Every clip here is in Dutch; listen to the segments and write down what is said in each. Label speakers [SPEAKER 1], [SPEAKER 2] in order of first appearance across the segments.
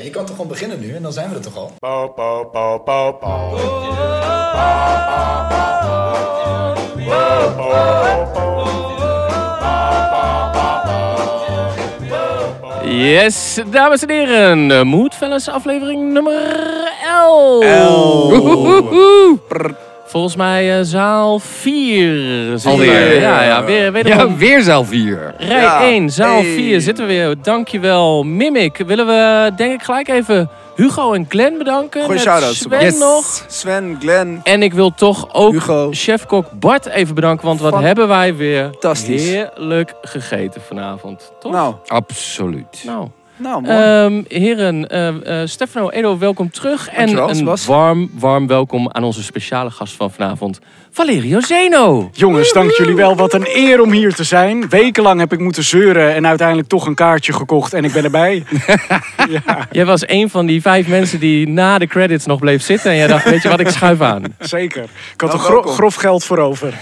[SPEAKER 1] je kan toch gewoon beginnen nu en dan zijn we er toch al?
[SPEAKER 2] Pauw, pauw, pauw, pauw, pauw.
[SPEAKER 3] Yes, dames en heren. Moed Fellas aflevering nummer 11. Volgens mij eh, zaal 4.
[SPEAKER 4] Alweer.
[SPEAKER 3] Ja, ja, weer, wederom.
[SPEAKER 4] Ja, weer zelf hier.
[SPEAKER 3] Rij
[SPEAKER 2] Ja.
[SPEAKER 3] 1, zaal
[SPEAKER 2] Hey.
[SPEAKER 3] 4 zitten we weer. Dankjewel, Mimic. Willen we denk ik gelijk even Hugo en Glenn bedanken.
[SPEAKER 2] Goeie
[SPEAKER 3] met
[SPEAKER 2] shout-outs.
[SPEAKER 3] Sven
[SPEAKER 4] Yes.
[SPEAKER 3] nog.
[SPEAKER 2] Sven, Glenn,
[SPEAKER 3] En ik wil toch ook
[SPEAKER 2] Hugo.
[SPEAKER 3] chefkok Bart even bedanken. Want wat
[SPEAKER 2] Fan-
[SPEAKER 3] hebben wij weer
[SPEAKER 2] Fantastisch.
[SPEAKER 3] heerlijk gegeten vanavond. Toch?
[SPEAKER 2] Nou,
[SPEAKER 4] Absoluut.
[SPEAKER 3] Nou.
[SPEAKER 2] nou, mooi.
[SPEAKER 5] Eh,
[SPEAKER 3] Ehm, heren, eh, eh, Stefano, Edo, welkom terug. En
[SPEAKER 2] Dankjewel,
[SPEAKER 3] een
[SPEAKER 2] Sebas.
[SPEAKER 3] warm, warm welkom aan onze speciale gast van vanavond, Valerio Zeno.
[SPEAKER 5] Jongens, dank jullie wel. Wat een eer om hier te zijn. Wekenlang heb ik moeten zeuren en uiteindelijk toch een kaartje gekocht en ik ben erbij.
[SPEAKER 3] Jij was een van die vijf mensen die na de credits nog bleef zitten. En jij dacht, weet je wat, ik schuif aan.
[SPEAKER 5] Zeker. Ik had
[SPEAKER 2] Nou,
[SPEAKER 5] er gro-
[SPEAKER 2] welkom.
[SPEAKER 5] grof geld voor over.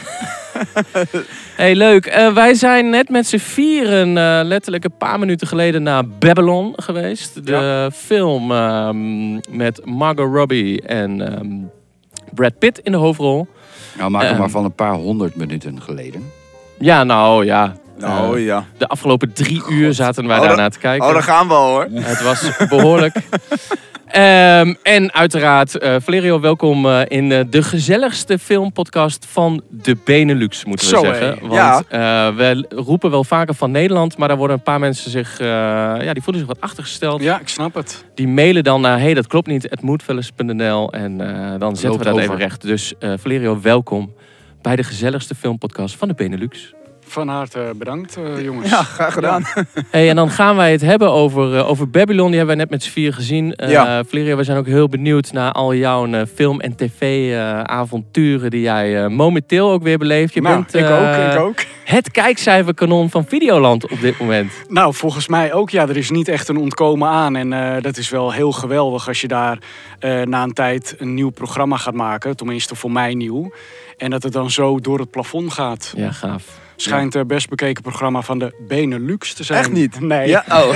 [SPEAKER 3] hey, leuk. Eh, wij zijn net met z'n vieren eh, letterlijk een paar minuten geleden naar Babylon geweest. De film ehm, met Margot Robbie en ehm, Brad Pitt in de hoofdrol.
[SPEAKER 4] Nou, maak hem
[SPEAKER 3] Ehm.
[SPEAKER 4] maar van een paar honderd minuten geleden.
[SPEAKER 3] Ja, nou ja.
[SPEAKER 2] nou
[SPEAKER 3] Eh,
[SPEAKER 2] ja.
[SPEAKER 3] de afgelopen drie uur zaten wij
[SPEAKER 2] Oh, dat-
[SPEAKER 3] daarnaar te kijken.
[SPEAKER 2] Oh, daar gaan we al hoor.
[SPEAKER 3] Het was behoorlijk. Ehm, en uiteraard, eh Valerio, welkom eh, in eh, de gezelligste filmpodcast van de Benelux, moeten we
[SPEAKER 5] Zo, hé.
[SPEAKER 3] zeggen. Want eh, we roepen wel vaker van Nederland, maar daar worden een paar mensen zich, eh, ja, die voelen zich wat achtergesteld.
[SPEAKER 5] Ja, ik snap het.
[SPEAKER 3] Die mailen dan naar, hey, dat klopt niet, het moedvellers.nl en eh, dan zetten
[SPEAKER 4] Loopt
[SPEAKER 3] we dat even
[SPEAKER 4] over.
[SPEAKER 3] recht. Dus eh, Valerio, welkom bij de gezelligste filmpodcast van de Benelux.
[SPEAKER 5] Van harte bedankt, eh, jongens.
[SPEAKER 2] Ja, graag gedaan.
[SPEAKER 3] Hey, en dan gaan wij het hebben over, eh, over Babylon. Die hebben wij net met z'n vier gezien. Eh
[SPEAKER 2] Ja.
[SPEAKER 3] Valerio, we zijn ook heel benieuwd naar al jouw eh, film- en tv-avonturen die jij eh, momenteel ook weer beleeft. Je
[SPEAKER 5] Nou,
[SPEAKER 3] bent
[SPEAKER 5] ik
[SPEAKER 3] eh,
[SPEAKER 5] ook, ik ook.
[SPEAKER 3] het kijkcijferkanon van Videoland op dit moment.
[SPEAKER 5] Nou, volgens mij ook. Ja, er is niet echt een ontkomen aan. En eh, dat is wel heel geweldig als je daar eh, na een tijd een nieuw programma gaat maken. Tenminste, voor mij nieuw. En dat het dan zo door het plafond gaat.
[SPEAKER 3] Ja, gaaf.
[SPEAKER 5] Schijnt het best bekeken programma van de Benelux te zijn.
[SPEAKER 2] Echt niet?
[SPEAKER 5] Nee.
[SPEAKER 2] Ja, oh.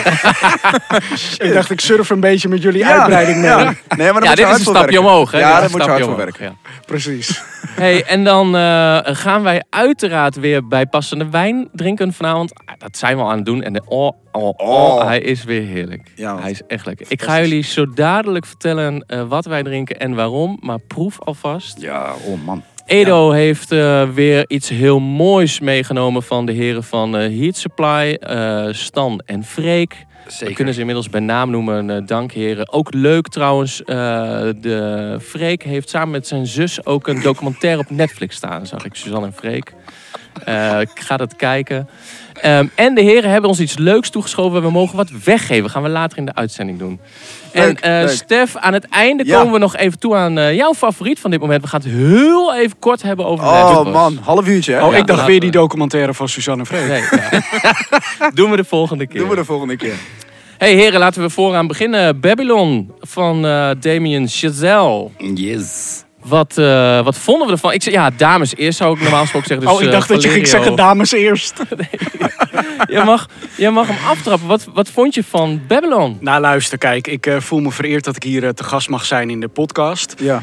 [SPEAKER 5] Ik dacht, ik surf een beetje met jullie
[SPEAKER 2] Ja.
[SPEAKER 5] uitbreiding mee.
[SPEAKER 2] Ja. Nee, maar dan
[SPEAKER 3] ja,
[SPEAKER 2] moet je
[SPEAKER 3] dit is
[SPEAKER 2] hard
[SPEAKER 3] een
[SPEAKER 2] voor
[SPEAKER 3] stapje
[SPEAKER 2] werken.
[SPEAKER 3] omhoog. Hè? Dit
[SPEAKER 2] Ja,
[SPEAKER 3] is
[SPEAKER 2] daar
[SPEAKER 3] een
[SPEAKER 2] moet je
[SPEAKER 3] stapje
[SPEAKER 2] hard voor
[SPEAKER 3] omhoog,
[SPEAKER 2] werken.
[SPEAKER 3] ja.
[SPEAKER 5] Precies.
[SPEAKER 3] Hey, en dan eh, gaan wij uiteraard weer bij passende wijn drinken vanavond. Ah, dat zijn we al aan het doen. En de, oh, oh, oh,
[SPEAKER 2] Oh.
[SPEAKER 3] hij is weer heerlijk.
[SPEAKER 2] Ja, want-
[SPEAKER 3] hij is echt lekker. Ik ga jullie zo dadelijk vertellen eh, wat wij drinken en waarom. Maar proef alvast.
[SPEAKER 4] Ja, oh man.
[SPEAKER 3] Edo heeft eh, weer iets heel moois meegenomen van de heren van eh, Heat Supply. eh, Stan en Freek.
[SPEAKER 4] Zeker.
[SPEAKER 3] We kunnen ze inmiddels bij naam noemen. eh, dank heren. Ook leuk trouwens. eh, de Freek heeft samen met zijn zus ook een documentaire op Netflix staan. Zag ik Suzanne en Freek. Eh, ik ga dat kijken. Ehm, en de heren hebben ons iets leuks toegeschoven. We mogen wat weggeven. Gaan we later in de uitzending doen.
[SPEAKER 2] Leuk,
[SPEAKER 3] en eh,
[SPEAKER 2] leuk.
[SPEAKER 3] Stef, aan het einde
[SPEAKER 2] Ja.
[SPEAKER 3] komen we nog even toe aan eh, jouw favoriet van dit moment. We gaan het heel even kort hebben over Last of
[SPEAKER 2] Oh
[SPEAKER 3] Us.
[SPEAKER 2] man, half uurtje hè?
[SPEAKER 5] Oh,
[SPEAKER 3] Ja,
[SPEAKER 5] ik dacht
[SPEAKER 3] laten
[SPEAKER 5] weer
[SPEAKER 3] we-
[SPEAKER 5] die documentaire van Suzanne Vreek.
[SPEAKER 3] Nee, ja. Doen we de volgende keer.
[SPEAKER 2] Doen we de volgende keer.
[SPEAKER 3] Hey heren, laten we vooraan beginnen. Babylon van eh Damien Chazelle.
[SPEAKER 4] Yes.
[SPEAKER 3] Wat, eh, wat vonden we ervan? Ik zei, ja, dames eerst zou ik normaal gesproken zeggen. Dus,
[SPEAKER 5] oh, ik
[SPEAKER 3] eh,
[SPEAKER 5] dacht dat je ging
[SPEAKER 3] Valerio,
[SPEAKER 5] zeggen dames eerst.
[SPEAKER 3] Jij mag, jij mag hem aftrappen. Wat, wat vond je van Babylon?
[SPEAKER 5] Nou luister, kijk, ik eh, voel me vereerd dat ik hier eh, te gast mag zijn in de podcast.
[SPEAKER 2] Ja.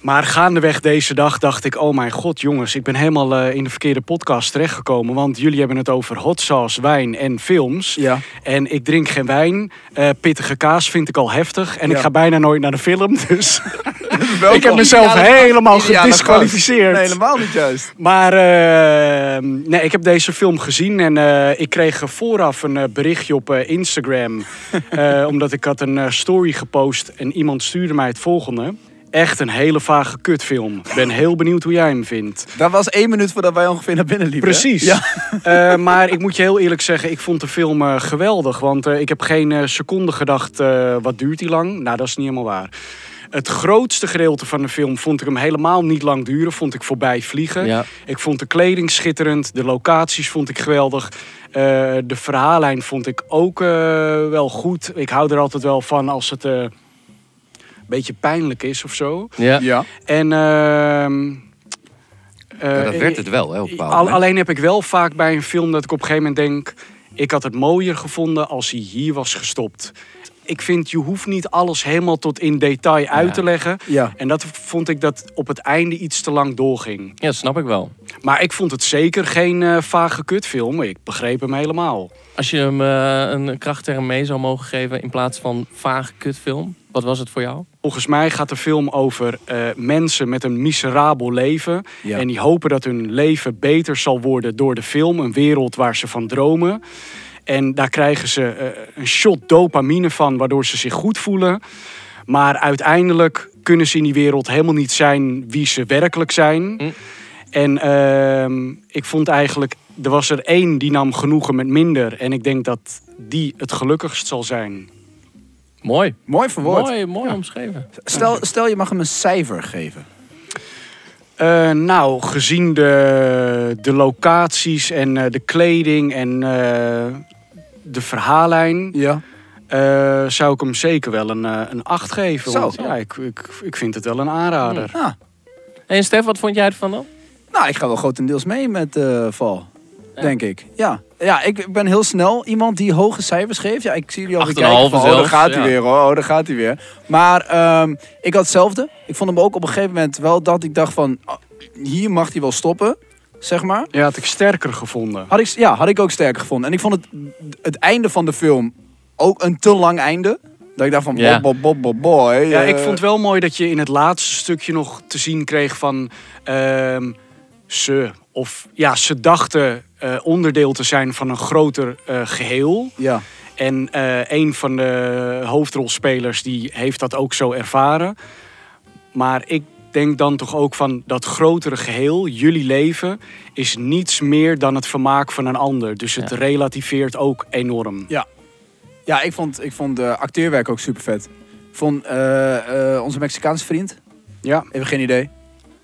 [SPEAKER 5] Maar gaandeweg deze dag dacht ik, oh mijn god jongens, ik ben helemaal eh, in de verkeerde podcast terechtgekomen. Want jullie hebben het over hot sauce, wijn en films.
[SPEAKER 2] Ja.
[SPEAKER 5] En ik drink geen wijn, eh, pittige kaas vind ik al heftig. En
[SPEAKER 2] Ja.
[SPEAKER 5] ik ga bijna nooit naar de film, dus...
[SPEAKER 2] Welkom.
[SPEAKER 5] Ik heb mezelf helemaal
[SPEAKER 2] Ideale gast.
[SPEAKER 5] gedisqualificeerd.
[SPEAKER 2] Nee, helemaal niet juist.
[SPEAKER 5] Maar eh, nee, ik heb deze film gezien en eh, ik kreeg vooraf een eh, berichtje op eh, Instagram. eh, omdat ik had een eh, story gepost en iemand stuurde mij het volgende. Echt een hele vage kutfilm. Ben heel benieuwd hoe jij hem vindt.
[SPEAKER 2] Dat was één minuut voordat wij ongeveer naar binnen liepen. hè?
[SPEAKER 5] Precies.
[SPEAKER 2] Ja.
[SPEAKER 5] Eh, maar ik moet je heel eerlijk zeggen, ik vond de film eh, geweldig. Want eh, ik heb geen eh, seconde gedacht, eh, wat duurt die lang? Nou, dat is niet helemaal waar. Het grootste gedeelte van de film vond ik hem helemaal niet lang duren. Vond ik voorbij vliegen.
[SPEAKER 3] Ja.
[SPEAKER 5] Ik vond de kleding schitterend. De locaties vond ik geweldig. Eh, de verhaallijn vond ik ook eh, wel goed. Ik hou er altijd wel van als het eh, een beetje pijnlijk is of zo.
[SPEAKER 3] Ja.
[SPEAKER 2] Ja.
[SPEAKER 5] En... ehm,
[SPEAKER 4] Ja,
[SPEAKER 5] eh,
[SPEAKER 4] dat werd het wel, hè, op een bepaald
[SPEAKER 5] al,
[SPEAKER 4] moment.
[SPEAKER 5] alleen heb ik wel vaak bij een film dat ik op een gegeven moment denk... ik had het mooier gevonden als hij hier was gestopt. ik vind, je hoeft niet alles helemaal tot in detail uit
[SPEAKER 3] Ja.
[SPEAKER 5] te leggen.
[SPEAKER 2] Ja.
[SPEAKER 5] En dat vond ik dat op het einde iets te lang doorging.
[SPEAKER 3] Ja, snap ik wel.
[SPEAKER 5] Maar ik vond het zeker geen eh, vage kutfilm. Ik begreep hem helemaal.
[SPEAKER 3] Als je hem eh, een krachtterm mee zou mogen geven in plaats van vaag kutfilm, wat was het voor jou?
[SPEAKER 5] Volgens mij gaat de film over eh, mensen met een miserabel leven.
[SPEAKER 2] Ja.
[SPEAKER 5] En die hopen dat hun leven beter zal worden door de film. Een wereld waar ze van dromen. En daar krijgen ze eh, een shot dopamine van, waardoor ze zich goed voelen. Maar uiteindelijk kunnen ze in die wereld helemaal niet zijn wie ze werkelijk zijn.
[SPEAKER 3] Hm.
[SPEAKER 5] En ehm, ik vond eigenlijk, er was er één die nam genoegen met minder. En ik denk dat die het gelukkigst zal zijn.
[SPEAKER 3] Mooi.
[SPEAKER 2] Mooi verwoord.
[SPEAKER 3] Mooi, mooi omschreven.
[SPEAKER 2] Stel, stel, je mag hem een cijfer geven.
[SPEAKER 5] Eh, nou, gezien de, de locaties en eh, de kleding en eh, de verhaallijn,
[SPEAKER 2] Ja.
[SPEAKER 5] eh, zou ik hem zeker wel een, eh, een 8 geven.
[SPEAKER 2] Zo.
[SPEAKER 5] Want, ja, ik, ik, ik vind het wel een aanrader.
[SPEAKER 2] Ah,
[SPEAKER 3] En Stef, wat vond jij ervan dan?
[SPEAKER 2] nou, ik ga wel grotendeels mee met eh, Val. Denk ik. Ja. Ja, ik ben heel snel iemand die hoge cijfers geeft. Ja, ik zie jullie al weer
[SPEAKER 3] Acht en
[SPEAKER 2] kijken.
[SPEAKER 3] een
[SPEAKER 2] van,
[SPEAKER 3] halve
[SPEAKER 2] Oh, daar
[SPEAKER 3] zelfs,
[SPEAKER 2] gaat hij
[SPEAKER 3] ja.
[SPEAKER 2] weer. hoor. Oh, daar gaat hij weer. Maar ehm, ik had hetzelfde. Ik vond hem ook op een gegeven moment wel dat ik dacht van... oh, hier mag hij wel stoppen, zeg maar.
[SPEAKER 5] Ja, had ik sterker gevonden.
[SPEAKER 2] Had ik, ja, had ik ook sterker gevonden. En ik vond het, het einde van de film ook een te lang einde. Dat ik dacht van,
[SPEAKER 3] Ja.
[SPEAKER 2] bo, bo, bo, bo, boy.
[SPEAKER 5] Ja,
[SPEAKER 2] eh,
[SPEAKER 5] ik vond wel mooi dat je in het laatste stukje nog te zien kreeg van ehm, ze. Of ja, ze dachten eh, onderdeel te zijn van een groter eh, geheel.
[SPEAKER 2] Ja,
[SPEAKER 5] En eh, een van de hoofdrolspelers die heeft dat ook zo ervaren. Maar ik denk dan toch ook van dat grotere geheel, jullie leven, is niets meer dan het vermaak van een ander. Dus het
[SPEAKER 3] Ja.
[SPEAKER 5] relativeert ook enorm.
[SPEAKER 2] ja ik, vond, ik vond de acteerwerk ook super vet. Vond eh, eh, onze Mexicaanse vriend,
[SPEAKER 5] Ja,
[SPEAKER 2] even geen idee.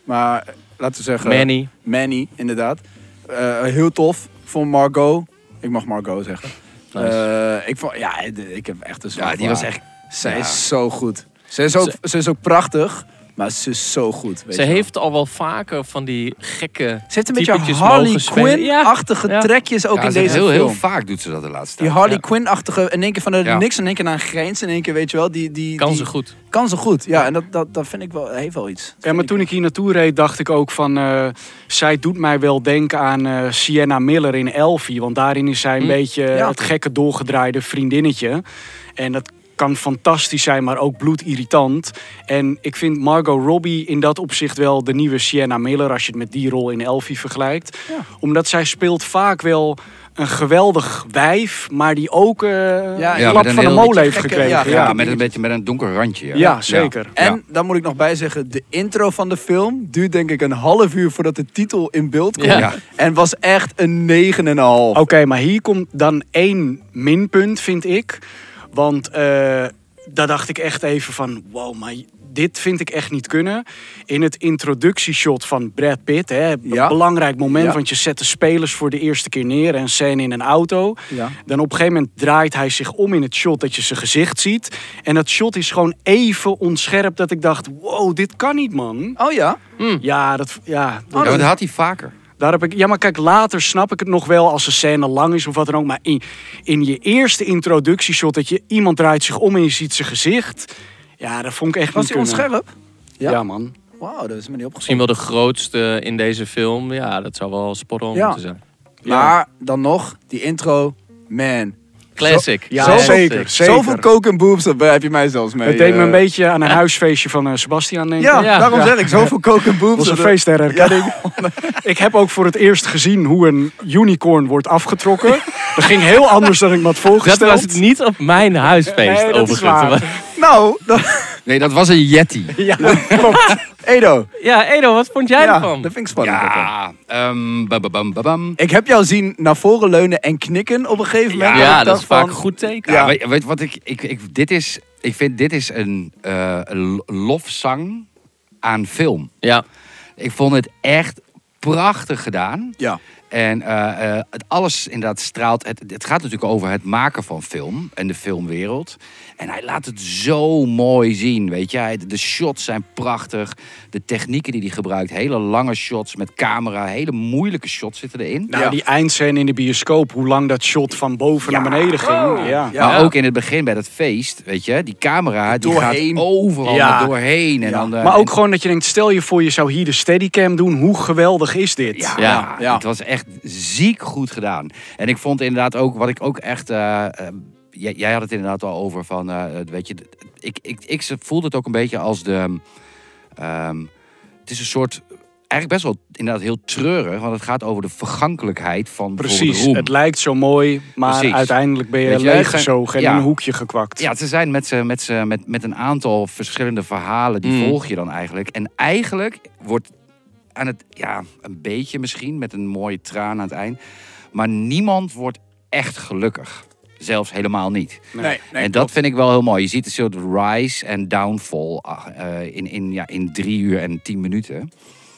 [SPEAKER 2] Maar eh, laten we zeggen...
[SPEAKER 3] Manny.
[SPEAKER 2] Manny, inderdaad. Eh, heel tof. Vond Margot. Ik mag Margot zeggen.
[SPEAKER 3] Nice.
[SPEAKER 2] Eh, ik vond, ja, de- ik heb echt een zwak
[SPEAKER 4] Ja, die
[SPEAKER 2] voor
[SPEAKER 4] was
[SPEAKER 2] haar.
[SPEAKER 4] echt...
[SPEAKER 2] Zij
[SPEAKER 4] ja.
[SPEAKER 2] is zo goed. Ze is ook, ze... is ook prachtig, maar ze is zo goed. Weet
[SPEAKER 3] Ze
[SPEAKER 2] je wel.
[SPEAKER 3] heeft al wel vaker van die gekke...
[SPEAKER 2] Ze heeft een
[SPEAKER 3] typetjes
[SPEAKER 2] beetje Harley
[SPEAKER 3] mogen spelen.
[SPEAKER 2] Quinn-achtige
[SPEAKER 3] Ja, ja.
[SPEAKER 2] trekjes ook
[SPEAKER 4] Ja,
[SPEAKER 2] in
[SPEAKER 4] ze-
[SPEAKER 2] deze
[SPEAKER 4] heel,
[SPEAKER 2] film.
[SPEAKER 4] heel vaak doet ze dat de laatste
[SPEAKER 2] die
[SPEAKER 4] tijd.
[SPEAKER 2] Harley
[SPEAKER 3] Ja.
[SPEAKER 2] Quinn-achtige, in één keer van de
[SPEAKER 4] Ja.
[SPEAKER 2] niks, in één keer naar een grens, in één keer weet je wel. Die, die,
[SPEAKER 3] Kan
[SPEAKER 2] die-
[SPEAKER 3] ze goed.
[SPEAKER 2] Kan ze goed, ja. En dat, dat, dat vind ik wel, heeft wel iets.
[SPEAKER 5] ja maar toen ik hier naartoe reed, dacht ik ook van... eh, zij doet mij wel denken aan eh, Sienna Miller in Elfie. Want daarin is zij een
[SPEAKER 3] Hm.
[SPEAKER 5] beetje
[SPEAKER 2] Ja.
[SPEAKER 5] het gekke dolgedraaide vriendinnetje. En dat kan fantastisch zijn, maar ook bloedirritant. En ik vind Margot Robbie in dat opzicht wel de nieuwe Sienna Miller... als je het met die rol in Elfie vergelijkt.
[SPEAKER 2] Ja.
[SPEAKER 5] Omdat zij speelt vaak wel een geweldig wijf... maar die ook eh
[SPEAKER 2] Ja,
[SPEAKER 5] een
[SPEAKER 4] met
[SPEAKER 5] lap
[SPEAKER 4] een
[SPEAKER 5] van de
[SPEAKER 4] heel-
[SPEAKER 5] molen heeft
[SPEAKER 2] gekke-
[SPEAKER 5] gekregen.
[SPEAKER 2] ja,
[SPEAKER 5] Ja,
[SPEAKER 4] Ja, met een beetje met een donker randje. hè?
[SPEAKER 5] Ja, zeker.
[SPEAKER 2] En daar moet ik nog bij zeggen, de intro van de film duurt denk ik een half uur voordat de titel in beeld komt.
[SPEAKER 3] Ja.
[SPEAKER 4] Ja.
[SPEAKER 2] En was echt een 9,5.
[SPEAKER 5] Oké, maar hier komt dan één minpunt, vind ik. Want eh, daar dacht ik echt even van... wow, maar dit vind ik echt niet kunnen. In het introductieshot van Brad Pitt... Hè, een
[SPEAKER 2] Ja.
[SPEAKER 5] belangrijk moment,
[SPEAKER 2] Ja.
[SPEAKER 5] want je zet de spelers voor de eerste keer neer... en scène in een auto.
[SPEAKER 2] Ja.
[SPEAKER 5] Dan op een gegeven moment draait hij zich om in het shot dat je zijn gezicht ziet. En dat shot is gewoon even onscherp dat ik dacht... wow, dit kan niet, man.
[SPEAKER 2] Oh ja?
[SPEAKER 5] Ja, dat... Ja,
[SPEAKER 2] Oh,
[SPEAKER 4] Ja, maar dat had hij vaker.
[SPEAKER 5] daar heb ik, ja, maar kijk, later snap ik het nog wel als de scène lang is of wat dan ook. Maar in, in je eerste introductieshot dat je iemand draait zich om en je ziet zijn gezicht. Ja, dat vond ik echt
[SPEAKER 2] Was
[SPEAKER 5] niet
[SPEAKER 2] hij
[SPEAKER 5] kunnen.
[SPEAKER 2] onscherp?
[SPEAKER 5] Ja.
[SPEAKER 2] Ja.
[SPEAKER 5] man.
[SPEAKER 2] Wauw, dat is me niet
[SPEAKER 3] Misschien
[SPEAKER 2] opgeschreven.
[SPEAKER 3] wel de grootste in deze film. Ja, dat zou wel spot on
[SPEAKER 2] Ja.
[SPEAKER 3] moeten zijn.
[SPEAKER 5] Ja.
[SPEAKER 2] Maar dan nog, die intro, man.
[SPEAKER 3] Classic.
[SPEAKER 5] Ja,
[SPEAKER 3] Classic.
[SPEAKER 5] zeker. zeker.
[SPEAKER 2] Zoveel coke en boobs, daar heb je mij zelfs mee.
[SPEAKER 5] het deed me een
[SPEAKER 2] eh,
[SPEAKER 5] beetje aan een huisfeestje van eh, Sebastian denken.
[SPEAKER 2] Ja,
[SPEAKER 3] Ja.
[SPEAKER 2] daarom
[SPEAKER 5] Ja.
[SPEAKER 2] zeg ik, zoveel coke en boobs.
[SPEAKER 5] was een
[SPEAKER 2] dat-
[SPEAKER 5] feest ter
[SPEAKER 2] Ja,
[SPEAKER 5] herkenning. Ik heb ook voor het eerst gezien hoe een unicorn wordt afgetrokken. Dat ging heel anders dan ik me had
[SPEAKER 3] Dat
[SPEAKER 5] voorgesteld.
[SPEAKER 3] was het niet op mijn huisfeest,
[SPEAKER 5] Nee, dat is
[SPEAKER 3] overigens.
[SPEAKER 5] waar.
[SPEAKER 2] nou, dan,
[SPEAKER 4] Nee, dat was een Yeti.
[SPEAKER 5] Ja, klopt.
[SPEAKER 2] Edo.
[SPEAKER 3] Ja, Edo, wat vond jij
[SPEAKER 2] Ja, dat
[SPEAKER 3] ervan?
[SPEAKER 2] vind ik spannend. ook wel.
[SPEAKER 4] Ja, ehm ba- ba- bam, ba- bam.
[SPEAKER 2] Ik heb jou zien naar voren leunen en knikken op een gegeven moment.
[SPEAKER 3] Ja,
[SPEAKER 2] En
[SPEAKER 3] dat
[SPEAKER 2] ik
[SPEAKER 3] is
[SPEAKER 2] dacht
[SPEAKER 3] vaak
[SPEAKER 2] van,
[SPEAKER 3] goed teken.
[SPEAKER 4] Ja, Weet, weet wat ik, ik, ik... Dit is... Ik vind dit is een eh, lo- lofzang aan film.
[SPEAKER 3] Ja.
[SPEAKER 4] Ik vond het echt prachtig gedaan.
[SPEAKER 2] Ja.
[SPEAKER 4] En eh, eh, het alles inderdaad straalt. Het, het gaat natuurlijk over het maken van film en de filmwereld. En hij laat het zo mooi zien. Weet je, Hij- de shots zijn prachtig. De technieken die hij gebruikt, hele lange shots met camera, hele moeilijke shots zitten erin.
[SPEAKER 5] Nou,
[SPEAKER 2] Ja.
[SPEAKER 5] die eindscène in de bioscoop, hoe lang dat shot van boven naar beneden ging.
[SPEAKER 2] Oh.
[SPEAKER 5] Ja.
[SPEAKER 2] Ja.
[SPEAKER 4] Maar ook in het begin bij dat feest, weet je, die camera die
[SPEAKER 2] Doorheen.
[SPEAKER 4] gaat overal
[SPEAKER 5] Ja.
[SPEAKER 4] maar doorheen. En
[SPEAKER 2] Ja.
[SPEAKER 4] dan, eh,
[SPEAKER 5] Maar ook
[SPEAKER 4] en-
[SPEAKER 5] gewoon dat je denkt, stel je voor je zou hier de steadycam doen. Hoe geweldig is dit?
[SPEAKER 4] Ja,
[SPEAKER 3] Ja,
[SPEAKER 2] ja.
[SPEAKER 4] het was echt ziek goed gedaan. En ik vond inderdaad ook, wat ik ook echt... eh, eh, jij, jij had het inderdaad al over van, eh, weet je... Ik, ik, ik voelde het ook een beetje als de... ehm, het is een soort... Eigenlijk best wel inderdaad heel treurig, want het gaat over de vergankelijkheid van bijvoorbeeld
[SPEAKER 5] Precies,
[SPEAKER 4] roem.
[SPEAKER 5] het lijkt zo mooi, maar
[SPEAKER 4] Precies.
[SPEAKER 5] uiteindelijk ben je
[SPEAKER 4] Weet je wel,
[SPEAKER 5] leeggezogen en
[SPEAKER 4] ja.
[SPEAKER 5] in een hoekje gekwakt.
[SPEAKER 4] Ja, ze zijn met, ze, met, ze, met, met een aantal verschillende verhalen, die
[SPEAKER 3] Mm.
[SPEAKER 4] volg je dan eigenlijk. En eigenlijk wordt aan het, ja, een beetje misschien, met een mooie traan aan het eind. Maar niemand wordt echt gelukkig. Zelfs helemaal niet.
[SPEAKER 2] Nee, nee,
[SPEAKER 4] en dat vind ik wel heel mooi. Je ziet een soort rise en downfall ah, eh, in, in, ja, in drie uur en tien minuten.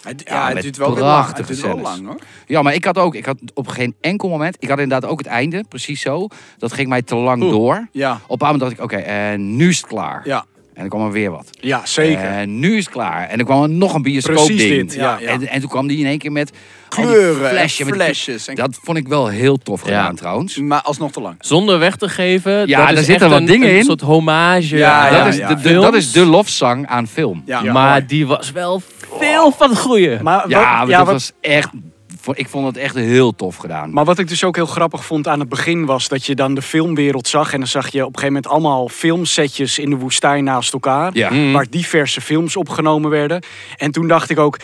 [SPEAKER 2] Het, ja,
[SPEAKER 4] Ja,
[SPEAKER 2] het
[SPEAKER 4] met
[SPEAKER 2] duurt wel weer lang. Het
[SPEAKER 4] prachtige
[SPEAKER 2] duurt wel
[SPEAKER 4] scènes.
[SPEAKER 2] lang hoor.
[SPEAKER 4] Ja, maar ik had ook, ik had op geen enkel moment, ik had inderdaad ook het einde, precies zo. Dat ging mij te lang door.
[SPEAKER 2] Ja,
[SPEAKER 4] Op een bepaald moment dacht ik, oké, en nu is het klaar.
[SPEAKER 2] ja.
[SPEAKER 4] En dan kwam er weer wat.
[SPEAKER 5] Ja, zeker.
[SPEAKER 4] En nu is het klaar. En er kwam er nog een bioscoop
[SPEAKER 5] Precies
[SPEAKER 4] ding.
[SPEAKER 5] dit, ja,
[SPEAKER 2] ja.
[SPEAKER 4] En, en toen kwam die in één keer met al die
[SPEAKER 2] Kleuren en
[SPEAKER 4] flashen, met die-
[SPEAKER 2] flesjes en-
[SPEAKER 4] dat vond ik wel heel tof gedaan trouwens.
[SPEAKER 2] Maar alsnog te lang.
[SPEAKER 3] Zonder weg te geven.
[SPEAKER 4] Ja,
[SPEAKER 3] dat
[SPEAKER 4] daar
[SPEAKER 3] is
[SPEAKER 4] zitten
[SPEAKER 3] echt
[SPEAKER 4] wat
[SPEAKER 3] een,
[SPEAKER 4] dingen
[SPEAKER 3] een
[SPEAKER 4] in.
[SPEAKER 3] soort hommage.
[SPEAKER 2] Ja,
[SPEAKER 3] aan
[SPEAKER 4] dat,
[SPEAKER 2] ja,
[SPEAKER 4] is
[SPEAKER 2] ja.
[SPEAKER 4] de, de-
[SPEAKER 3] films.
[SPEAKER 4] dat is de lofzang aan film.
[SPEAKER 2] Ja.
[SPEAKER 3] maar die was wel veel van het goede.
[SPEAKER 5] Maar wat,
[SPEAKER 4] Ja, maar
[SPEAKER 5] ja,
[SPEAKER 4] dat
[SPEAKER 5] wat-
[SPEAKER 4] was echt... Ik vond het echt heel tof gedaan.
[SPEAKER 5] maar wat ik dus ook heel grappig vond aan het begin was dat je dan de filmwereld zag. En dan zag je op een gegeven moment allemaal filmsetjes in de woestijn naast elkaar.
[SPEAKER 4] Ja.
[SPEAKER 5] Waar diverse films opgenomen werden. En toen dacht ik ook,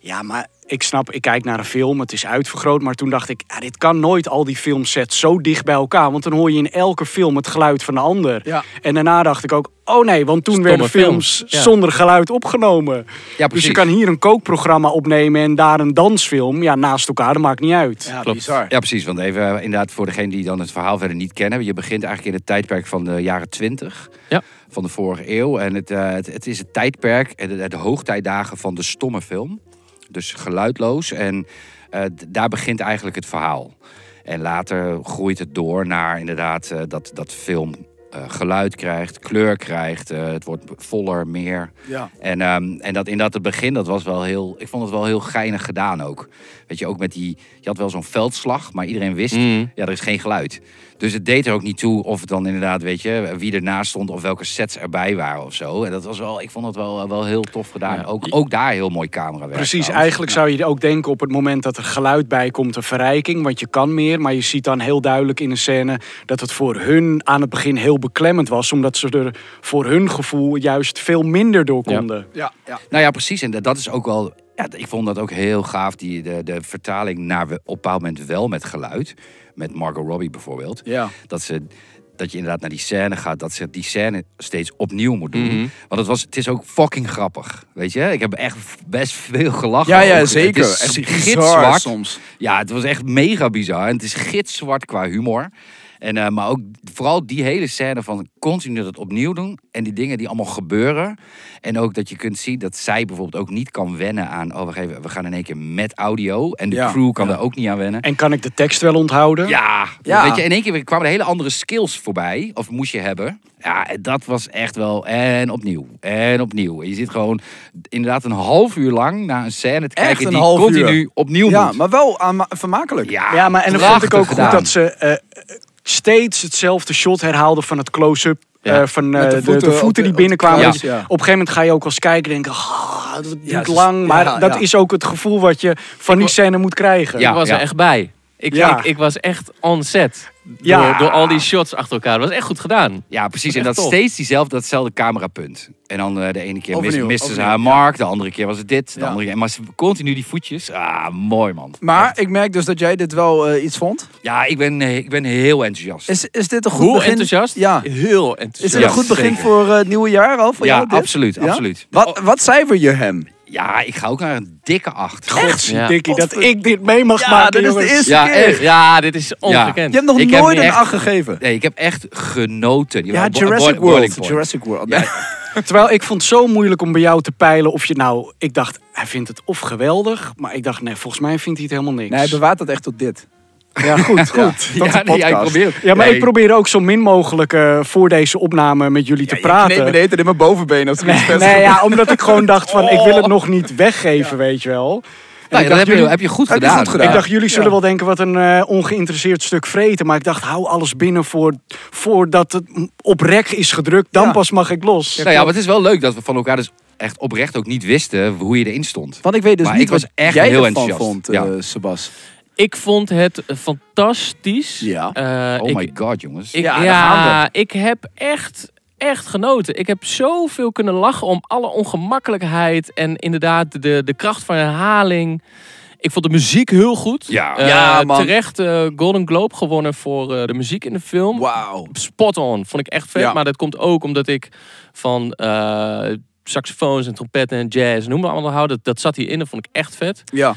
[SPEAKER 5] ja maar ik snap, ik kijk naar een film, het is uitvergroot. Maar toen dacht ik, ja, dit kan nooit al die filmsets zo dicht bij elkaar. Want dan hoor je in elke film het geluid van de ander.
[SPEAKER 2] Ja.
[SPEAKER 5] En daarna dacht ik ook, oh nee, want toen
[SPEAKER 3] Stomme
[SPEAKER 5] werden films,
[SPEAKER 3] films, ja.
[SPEAKER 5] zonder geluid opgenomen.
[SPEAKER 4] ja,
[SPEAKER 5] Dus
[SPEAKER 4] precies.
[SPEAKER 5] je kan hier een kookprogramma opnemen en daar een dansfilm. Ja, naast elkaar, dat maakt niet uit.
[SPEAKER 2] Ja,
[SPEAKER 3] Klopt.
[SPEAKER 2] bizar.
[SPEAKER 4] Ja, precies. Want even eh, inderdaad voor degene die dan het verhaal verder niet kennen. Je begint eigenlijk in het tijdperk van de jaren 20
[SPEAKER 3] Ja.
[SPEAKER 4] van de vorige eeuw. En het, eh, het, het is het tijdperk, eh, de, de hoogtijdagen van de stomme film. Dus geluidloos. En eh, d- daar begint eigenlijk het verhaal. En later groeit het door naar inderdaad eh, dat, dat film eh, geluid krijgt, kleur krijgt. eh, het wordt voller, meer.
[SPEAKER 2] Ja.
[SPEAKER 4] En, ehm, en dat inderdaad het begin, dat was wel heel... Ik vond het wel heel geinig gedaan ook. Weet je, ook met die... Je had wel zo'n veldslag, maar iedereen wist...
[SPEAKER 3] Mm.
[SPEAKER 4] Ja, er is geen geluid. Dus het deed er ook niet toe of het dan inderdaad, weet je... Wie ernaast stond of welke sets erbij waren of zo. En dat was wel... Ik vond het wel, eh, wel heel tof gedaan.
[SPEAKER 3] Ja.
[SPEAKER 4] Ook, ook daar heel mooi camerawerk.
[SPEAKER 5] Precies,
[SPEAKER 4] trouwens.
[SPEAKER 5] eigenlijk zou je ook denken op het moment dat er geluid bij komt, een verrijking, want je kan meer. Maar je ziet dan heel duidelijk in de scène dat het voor hun aan het begin heel beklemmend was, omdat ze er voor hun gevoel juist veel minder door
[SPEAKER 3] Ja.
[SPEAKER 5] konden.
[SPEAKER 2] Ja, ja.
[SPEAKER 4] Nou ja, precies. En dat, dat is ook wel... Ja, ik vond dat ook heel gaaf, die, de, de vertaling naar we- op een bepaald moment wel met geluid. Met Margot Robbie bijvoorbeeld.
[SPEAKER 2] Ja.
[SPEAKER 4] dat ze dat je inderdaad naar die scène gaat, dat ze die scène steeds opnieuw moet doen.
[SPEAKER 3] Mhm.
[SPEAKER 4] Want het, was, het is ook fucking grappig, weet je? Ik heb echt best veel gelachen.
[SPEAKER 2] Ja,
[SPEAKER 4] ook.
[SPEAKER 2] ja,
[SPEAKER 4] Het
[SPEAKER 2] zeker.
[SPEAKER 4] is
[SPEAKER 2] Echt bizar
[SPEAKER 4] gitzwart.
[SPEAKER 2] soms.
[SPEAKER 4] Ja, het was echt mega bizar. En het is gitzwart qua humor. En, eh, maar ook vooral die hele scène van continu dat opnieuw doen. En die dingen die allemaal gebeuren. En ook dat je kunt zien dat zij bijvoorbeeld ook niet kan wennen aan... Oh, we, geven, we gaan in één keer met audio. En de
[SPEAKER 2] Ja.
[SPEAKER 4] crew kan daar ook niet aan wennen.
[SPEAKER 5] En kan ik de tekst wel onthouden?
[SPEAKER 4] Ja,
[SPEAKER 2] Ja.
[SPEAKER 4] Weet je, in één keer kwamen er hele andere skills voorbij. Of moest je hebben. Ja, en dat was echt wel. En opnieuw. En opnieuw. En je zit gewoon inderdaad een half uur lang naar een scène te
[SPEAKER 2] Echt
[SPEAKER 4] kijken
[SPEAKER 2] een
[SPEAKER 4] die
[SPEAKER 2] half
[SPEAKER 4] continu
[SPEAKER 2] uur.
[SPEAKER 4] opnieuw
[SPEAKER 2] Ja,
[SPEAKER 4] moet.
[SPEAKER 2] maar wel aanma- vermakelijk.
[SPEAKER 4] ja,
[SPEAKER 5] Ja, maar en dan vond ik
[SPEAKER 4] prachtig
[SPEAKER 5] ook
[SPEAKER 4] gedaan.
[SPEAKER 5] goed dat ze eh, steeds hetzelfde shot herhaalden van het close-up.
[SPEAKER 3] Ja.
[SPEAKER 5] eh, van eh,
[SPEAKER 2] Met
[SPEAKER 5] de, de voeten,
[SPEAKER 2] op de-
[SPEAKER 5] die
[SPEAKER 2] op de
[SPEAKER 5] binnenkwamen.
[SPEAKER 2] kruis,
[SPEAKER 5] Dus
[SPEAKER 2] ja.
[SPEAKER 5] Op een gegeven moment ga je ook als kijker denken... "Ah, dat duurt
[SPEAKER 2] het is-
[SPEAKER 5] lang. Maar
[SPEAKER 2] ja,
[SPEAKER 5] dat
[SPEAKER 2] ja.
[SPEAKER 5] is ook het gevoel wat je van die scène moet krijgen.
[SPEAKER 4] Ja.
[SPEAKER 3] ik was er echt bij. Ik,
[SPEAKER 5] Ja.
[SPEAKER 3] ik, ik was echt on set. Door,
[SPEAKER 5] Ja.
[SPEAKER 3] door al die shots achter elkaar. Dat was echt goed gedaan.
[SPEAKER 4] Ja, precies.
[SPEAKER 3] Echt
[SPEAKER 4] En dat
[SPEAKER 3] tof.
[SPEAKER 4] steeds diezelfde, datzelfde camerapunt. En dan eh, de ene keer mis,
[SPEAKER 2] Overnieuw,
[SPEAKER 4] miste ze
[SPEAKER 2] overnieuw,
[SPEAKER 4] haar
[SPEAKER 2] ja.
[SPEAKER 4] mark, de andere keer was het dit, de
[SPEAKER 2] Ja.
[SPEAKER 4] andere keer. Maar ze- continu die voetjes. Ah, mooi man.
[SPEAKER 2] Maar ik merk dus dat jij dit wel eh, iets vond.
[SPEAKER 4] Ja, ik ben, eh, ik ben heel enthousiast.
[SPEAKER 2] Is, is dit een goed
[SPEAKER 3] Hoe
[SPEAKER 2] begin?
[SPEAKER 3] enthousiast?
[SPEAKER 2] Ja.
[SPEAKER 3] Heel enthousiast.
[SPEAKER 2] Is dit een
[SPEAKER 4] Ja,
[SPEAKER 2] goed begin
[SPEAKER 4] zeker.
[SPEAKER 2] voor eh, het nieuwe jaar al? Voor
[SPEAKER 4] Ja,
[SPEAKER 2] jou, dit?
[SPEAKER 4] absoluut, absoluut.
[SPEAKER 2] Wat, wat cijfer je hem?
[SPEAKER 4] Ja, ik ga ook naar een dikke acht.
[SPEAKER 5] Echt,
[SPEAKER 3] Ja.
[SPEAKER 5] Dikkie, dat
[SPEAKER 2] Godver-
[SPEAKER 5] ik dit mee mag
[SPEAKER 2] Ja,
[SPEAKER 5] maken,
[SPEAKER 2] dat is de
[SPEAKER 5] jongens.
[SPEAKER 2] eerste
[SPEAKER 4] Ja,
[SPEAKER 2] keer.
[SPEAKER 4] echt.
[SPEAKER 3] Ja, dit is ongekend.
[SPEAKER 2] Je hebt nog
[SPEAKER 4] Ik heb
[SPEAKER 2] nooit
[SPEAKER 4] nu
[SPEAKER 2] een
[SPEAKER 4] echt-
[SPEAKER 2] 8 gegeven.
[SPEAKER 4] Nee, ik heb echt genoten.
[SPEAKER 2] Ja,
[SPEAKER 4] Bo-
[SPEAKER 2] Jurassic
[SPEAKER 4] bo-
[SPEAKER 2] World.
[SPEAKER 4] boiling point.
[SPEAKER 2] Jurassic World.
[SPEAKER 4] Ja,
[SPEAKER 5] eh, Terwijl ik vond het zo moeilijk om bij jou te peilen of je nou... Ik dacht, hij vindt het of geweldig, maar ik dacht, nee, volgens mij vindt hij het helemaal niks.
[SPEAKER 2] Nee, hij bewaart dat echt tot dit.
[SPEAKER 5] Ja, goed, goed.
[SPEAKER 4] Ja, nee, jij probeert.
[SPEAKER 5] Ja, maar
[SPEAKER 4] Nee.
[SPEAKER 5] ik probeer ook zo min mogelijk eh, voor deze opname met jullie te praten.
[SPEAKER 2] Nee, beneden in mijn bovenbeen als
[SPEAKER 5] Nee, nee, ja, omdat ik gewoon dacht van, ik wil
[SPEAKER 2] Oh.
[SPEAKER 5] het nog niet weggeven, weet je wel.
[SPEAKER 4] Nou,
[SPEAKER 5] ik
[SPEAKER 4] ja, dat
[SPEAKER 5] dacht,
[SPEAKER 4] heb je,
[SPEAKER 5] jullie-
[SPEAKER 4] heb je goed
[SPEAKER 2] heb je
[SPEAKER 4] gedaan.
[SPEAKER 2] goed gedaan.
[SPEAKER 5] Ik dacht, jullie zullen
[SPEAKER 2] Ja.
[SPEAKER 5] wel denken wat een eh, ongeïnteresseerd stuk vreten. Maar ik dacht, hou alles binnen voor, voordat het op rek is gedrukt. Dan
[SPEAKER 2] Ja.
[SPEAKER 5] pas mag ik los.
[SPEAKER 4] Nou ja, maar het is wel leuk dat we van elkaar dus echt oprecht ook niet wisten hoe je erin stond.
[SPEAKER 2] Want ik weet dus
[SPEAKER 4] Maar
[SPEAKER 2] niet
[SPEAKER 4] ik was
[SPEAKER 2] wat
[SPEAKER 4] echt
[SPEAKER 2] jij
[SPEAKER 4] heel
[SPEAKER 2] ervan
[SPEAKER 4] enthousiast.
[SPEAKER 2] vond, eh
[SPEAKER 4] Ja.
[SPEAKER 2] Sebas.
[SPEAKER 3] Ik vond het fantastisch.
[SPEAKER 2] Ja.
[SPEAKER 3] Eh,
[SPEAKER 4] oh
[SPEAKER 3] ik,
[SPEAKER 4] my god, jongens.
[SPEAKER 3] Ik,
[SPEAKER 2] Ja,
[SPEAKER 3] ja,
[SPEAKER 2] daar gaan
[SPEAKER 3] ik heb echt, echt genoten. Ik heb zoveel kunnen lachen om alle ongemakkelijkheid en inderdaad de, de kracht van herhaling. Ik vond de muziek heel goed.
[SPEAKER 4] Ja.
[SPEAKER 3] Eh,
[SPEAKER 2] Ja, man.
[SPEAKER 3] Terecht eh, Golden Globe gewonnen voor eh, de muziek in de film.
[SPEAKER 2] Wauw.
[SPEAKER 3] Spot on, vond ik echt vet.
[SPEAKER 2] Ja.
[SPEAKER 3] Maar dat komt ook omdat ik van eh, saxofoons en trompetten en jazz, noem maar allemaal, hou. Dat, dat zat hierin, dat vond ik echt vet.
[SPEAKER 2] Ja.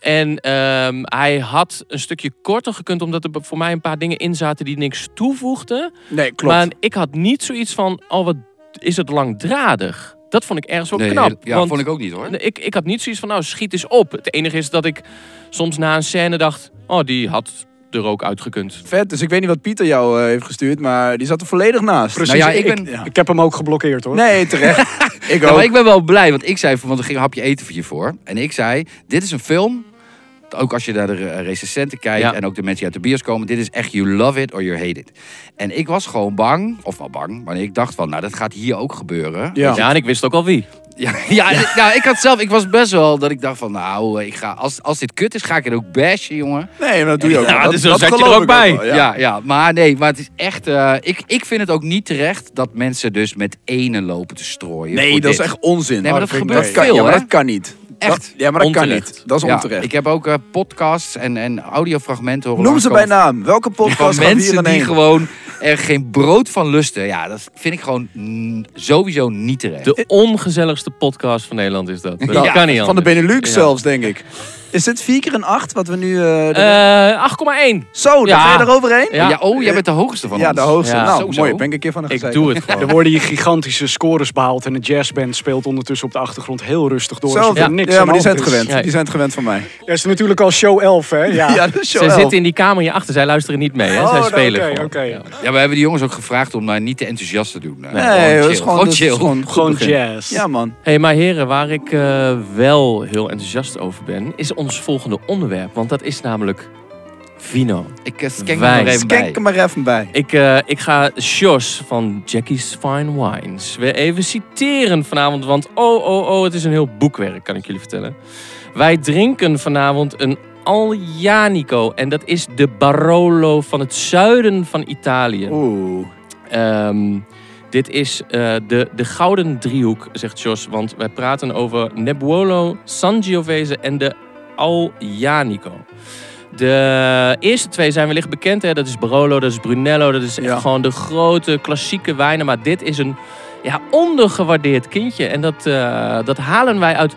[SPEAKER 3] En ehm, hij had een stukje korter gekund, omdat er voor mij een paar dingen in zaten die niks toevoegden.
[SPEAKER 2] Nee, klopt.
[SPEAKER 3] Maar ik had niet zoiets van, oh wat is het langdradig. Dat vond ik ergens wel
[SPEAKER 4] Nee,
[SPEAKER 3] knap.
[SPEAKER 4] heel- Ja,
[SPEAKER 3] want
[SPEAKER 4] vond ik ook niet hoor.
[SPEAKER 3] ik, ik had niet zoiets van, nou schiet eens op. Het enige is dat ik soms na een scène dacht, oh die had er ook uitgekund.
[SPEAKER 2] Vet, dus ik weet niet wat Pieter jou eh, heeft gestuurd, maar die zat er volledig naast.
[SPEAKER 5] Precies,
[SPEAKER 4] Nou ja,
[SPEAKER 5] ik,
[SPEAKER 4] ik
[SPEAKER 5] ik,
[SPEAKER 4] ben-
[SPEAKER 5] heb hem ook geblokkeerd hoor.
[SPEAKER 2] Nee, terecht. ik
[SPEAKER 4] Nou Ja,
[SPEAKER 2] ook.
[SPEAKER 4] maar ik ben wel blij, want ik zei, van- want er ging een hapje eten voor je voor. En ik zei, dit is een film, ook als je naar de eh, recensenten kijkt
[SPEAKER 3] Ja.
[SPEAKER 4] en ook de mensen die uit de bios komen, dit is echt you love it or you hate it. En ik was gewoon bang, of wel bang, maar ik dacht van, nou dat gaat hier ook gebeuren.
[SPEAKER 2] Ja.
[SPEAKER 3] en ik wist ook al wie.
[SPEAKER 4] Ja, ja, Nou, ik had zelf, ik was best wel dat ik dacht van, nou, ik ga, als, als dit kut is, ga ik het ook bashen, jongen.
[SPEAKER 2] Nee, maar dat doe je ook.
[SPEAKER 3] Ja,
[SPEAKER 2] wel. dat,
[SPEAKER 3] dus zo
[SPEAKER 2] dat
[SPEAKER 3] zat je er
[SPEAKER 2] geloof
[SPEAKER 3] ook
[SPEAKER 2] ik
[SPEAKER 3] bij.
[SPEAKER 2] wel,
[SPEAKER 4] Ja, ja, maar nee, maar het is echt, eh, ik, ik vind het ook niet terecht dat mensen dus met ene lopen te strooien.
[SPEAKER 2] Nee,
[SPEAKER 4] voor
[SPEAKER 2] dat is
[SPEAKER 4] dit.
[SPEAKER 2] echt onzin.
[SPEAKER 4] Nee, maar dat
[SPEAKER 2] Ah, vind ik-
[SPEAKER 4] gebeurt
[SPEAKER 2] kan,
[SPEAKER 4] veel,
[SPEAKER 2] ja, maar
[SPEAKER 4] hè?
[SPEAKER 2] dat kan niet.
[SPEAKER 4] Echt.
[SPEAKER 2] Dat- ja, maar dat
[SPEAKER 3] Onterecht.
[SPEAKER 2] kan niet. Dat is
[SPEAKER 4] Ja,
[SPEAKER 2] onterecht.
[SPEAKER 4] Ik heb ook eh, podcasts en, en audiofragmenten horen
[SPEAKER 2] Noem ze bij
[SPEAKER 4] langskomen
[SPEAKER 2] naam. Welke
[SPEAKER 4] van
[SPEAKER 2] podcast gaat hier
[SPEAKER 4] mensen
[SPEAKER 2] aan
[SPEAKER 4] die
[SPEAKER 2] heen?
[SPEAKER 4] gewoon er geen brood van lusten. Ja, dat vind ik gewoon mm, sowieso niet terecht.
[SPEAKER 3] De ongezelligste podcast van Nederland is dat. Dat
[SPEAKER 4] Ja,
[SPEAKER 3] kan niet
[SPEAKER 2] Van de
[SPEAKER 3] anders.
[SPEAKER 2] Benelux
[SPEAKER 3] Ja.
[SPEAKER 2] zelfs, denk ik. Is dit 4 keer een 8 wat we nu... eh,
[SPEAKER 3] Eh 8,1.
[SPEAKER 2] Zo, daar
[SPEAKER 3] ja.
[SPEAKER 2] ga je eroverheen?
[SPEAKER 3] Ja.
[SPEAKER 4] Ja. oh, jij bent de hoogste van
[SPEAKER 2] Ja,
[SPEAKER 4] ons.
[SPEAKER 2] de hoogste.
[SPEAKER 3] Ja.
[SPEAKER 2] nou,
[SPEAKER 4] Sowieso.
[SPEAKER 2] mooi. Ben ik een keer van een
[SPEAKER 3] Ik
[SPEAKER 2] gezeik.
[SPEAKER 3] doe het
[SPEAKER 5] Er
[SPEAKER 3] gewoon.
[SPEAKER 5] worden hier gigantische scores behaald en de jazzband speelt ondertussen op de achtergrond heel rustig door. alsof
[SPEAKER 2] Zelfde.
[SPEAKER 5] er
[SPEAKER 2] Ja,
[SPEAKER 5] niks
[SPEAKER 2] ja,
[SPEAKER 5] aan
[SPEAKER 2] maar die
[SPEAKER 5] de
[SPEAKER 2] zijn
[SPEAKER 5] hand dus.
[SPEAKER 2] het
[SPEAKER 5] is.
[SPEAKER 2] gewend.
[SPEAKER 3] Ja.
[SPEAKER 2] Die zijn het gewend van mij.
[SPEAKER 5] Ja, is natuurlijk al show 11 hè? Ja.
[SPEAKER 2] Ja, dat is zo
[SPEAKER 3] Ze
[SPEAKER 2] elf.
[SPEAKER 3] zitten in die kamer hierachter, zij luisteren niet mee. Hè?
[SPEAKER 5] Oh,
[SPEAKER 3] zij
[SPEAKER 5] nou,
[SPEAKER 3] spelen
[SPEAKER 5] oké,
[SPEAKER 3] gewoon.
[SPEAKER 5] oké.
[SPEAKER 3] Ja.
[SPEAKER 4] Ja, we hebben die jongens ook gevraagd om daar niet te enthousiast te doen. Eh,
[SPEAKER 2] Nee, dat
[SPEAKER 4] chill.
[SPEAKER 2] is gewoon, dat is
[SPEAKER 4] chill.
[SPEAKER 2] gewoon, goed
[SPEAKER 5] Gewoon
[SPEAKER 2] begin.
[SPEAKER 5] jazz.
[SPEAKER 2] Ja, man.
[SPEAKER 3] Hé, hey, maar heren, waar ik eh, wel heel enthousiast over ben, is ons volgende onderwerp. Want dat is namelijk vino.
[SPEAKER 4] Ik eh, skank
[SPEAKER 3] Wij.
[SPEAKER 4] er nog even
[SPEAKER 2] Dus Kijk
[SPEAKER 4] bij.
[SPEAKER 2] er maar even bij.
[SPEAKER 3] Ik, eh, ik ga Jos van Jackie's Fine Wines weer even citeren vanavond. Want oh, oh, oh, het is een heel boekwerk, kan ik jullie vertellen. Wij drinken vanavond een Allianico. En dat is de Barolo van het zuiden van Italië.
[SPEAKER 2] Oeh.
[SPEAKER 3] Ehm, dit is eh, de, de gouden driehoek, zegt Jos. Want wij praten over Nebbiolo, Sangiovese en de Aljanico. De eerste twee zijn wellicht bekend. Hè? Dat is Barolo, dat is Brunello. Dat is echt
[SPEAKER 2] Ja.
[SPEAKER 3] gewoon de grote klassieke wijnen. Maar dit is een ja, ondergewaardeerd kindje. En dat, eh, dat halen wij uit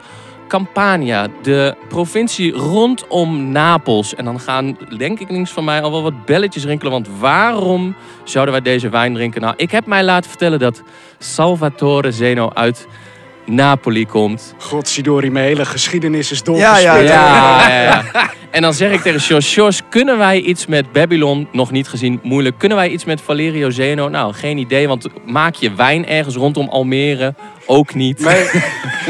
[SPEAKER 3] Campania, de provincie rondom Napels. En dan gaan, denk ik links van mij, al wel wat belletjes rinkelen. Want waarom zouden wij deze wijn drinken? Nou, ik heb mij laten vertellen dat Salvatore Zeno uit Napoli komt.
[SPEAKER 5] Godsidori, mijn hele geschiedenis is
[SPEAKER 2] Ja,
[SPEAKER 5] doorgespit.
[SPEAKER 2] ja, ja.
[SPEAKER 3] ja, ja. En dan zeg ik tegen Jos, Jos, kunnen wij iets met Babylon, nog niet gezien, moeilijk. Kunnen wij iets met Valerio Zeno? Nou, geen idee, want maak je wijn ergens rondom Almere? Ook niet.
[SPEAKER 5] Nee,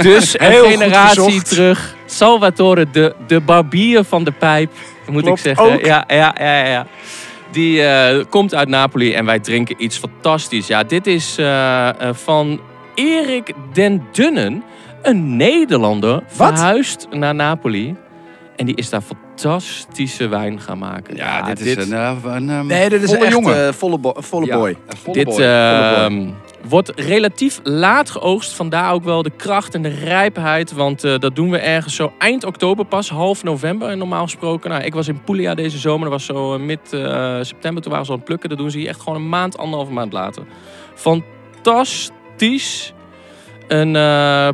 [SPEAKER 3] Dus een
[SPEAKER 5] Heel goed
[SPEAKER 3] generatie
[SPEAKER 5] gezocht.
[SPEAKER 3] terug. Salvatore, de, de barbier van de pijp, moet
[SPEAKER 5] Klopt,
[SPEAKER 3] ik zeggen.
[SPEAKER 5] ook.
[SPEAKER 3] Ja, ja, ja, ja. Die eh, komt uit Napoli en wij drinken iets fantastisch. Ja, dit is eh, eh, van Erik den Dunnen, een Nederlander, verhuisd naar Napoli. En die is daar fantastische wijn gaan maken.
[SPEAKER 4] Ja, dit is een, eh, een eh,
[SPEAKER 2] Nee, dit is
[SPEAKER 4] volle
[SPEAKER 2] echt
[SPEAKER 4] jongen.
[SPEAKER 2] eh, volle, bo- volle
[SPEAKER 4] Ja,
[SPEAKER 2] boy.
[SPEAKER 4] een volle
[SPEAKER 3] Dit
[SPEAKER 4] boy,
[SPEAKER 3] eh,
[SPEAKER 4] volle boy.
[SPEAKER 3] wordt relatief laat geoogst. Vandaar ook wel de kracht en de rijpheid. Want eh, dat doen we ergens zo eind oktober pas, half november. En normaal gesproken, nou, ik was in Puglia deze zomer. Dat was zo eh, mid eh, september. Toen waren ze al aan het plukken. Dat doen ze hier echt gewoon een maand, anderhalve maand later. Fantastisch. Een eh,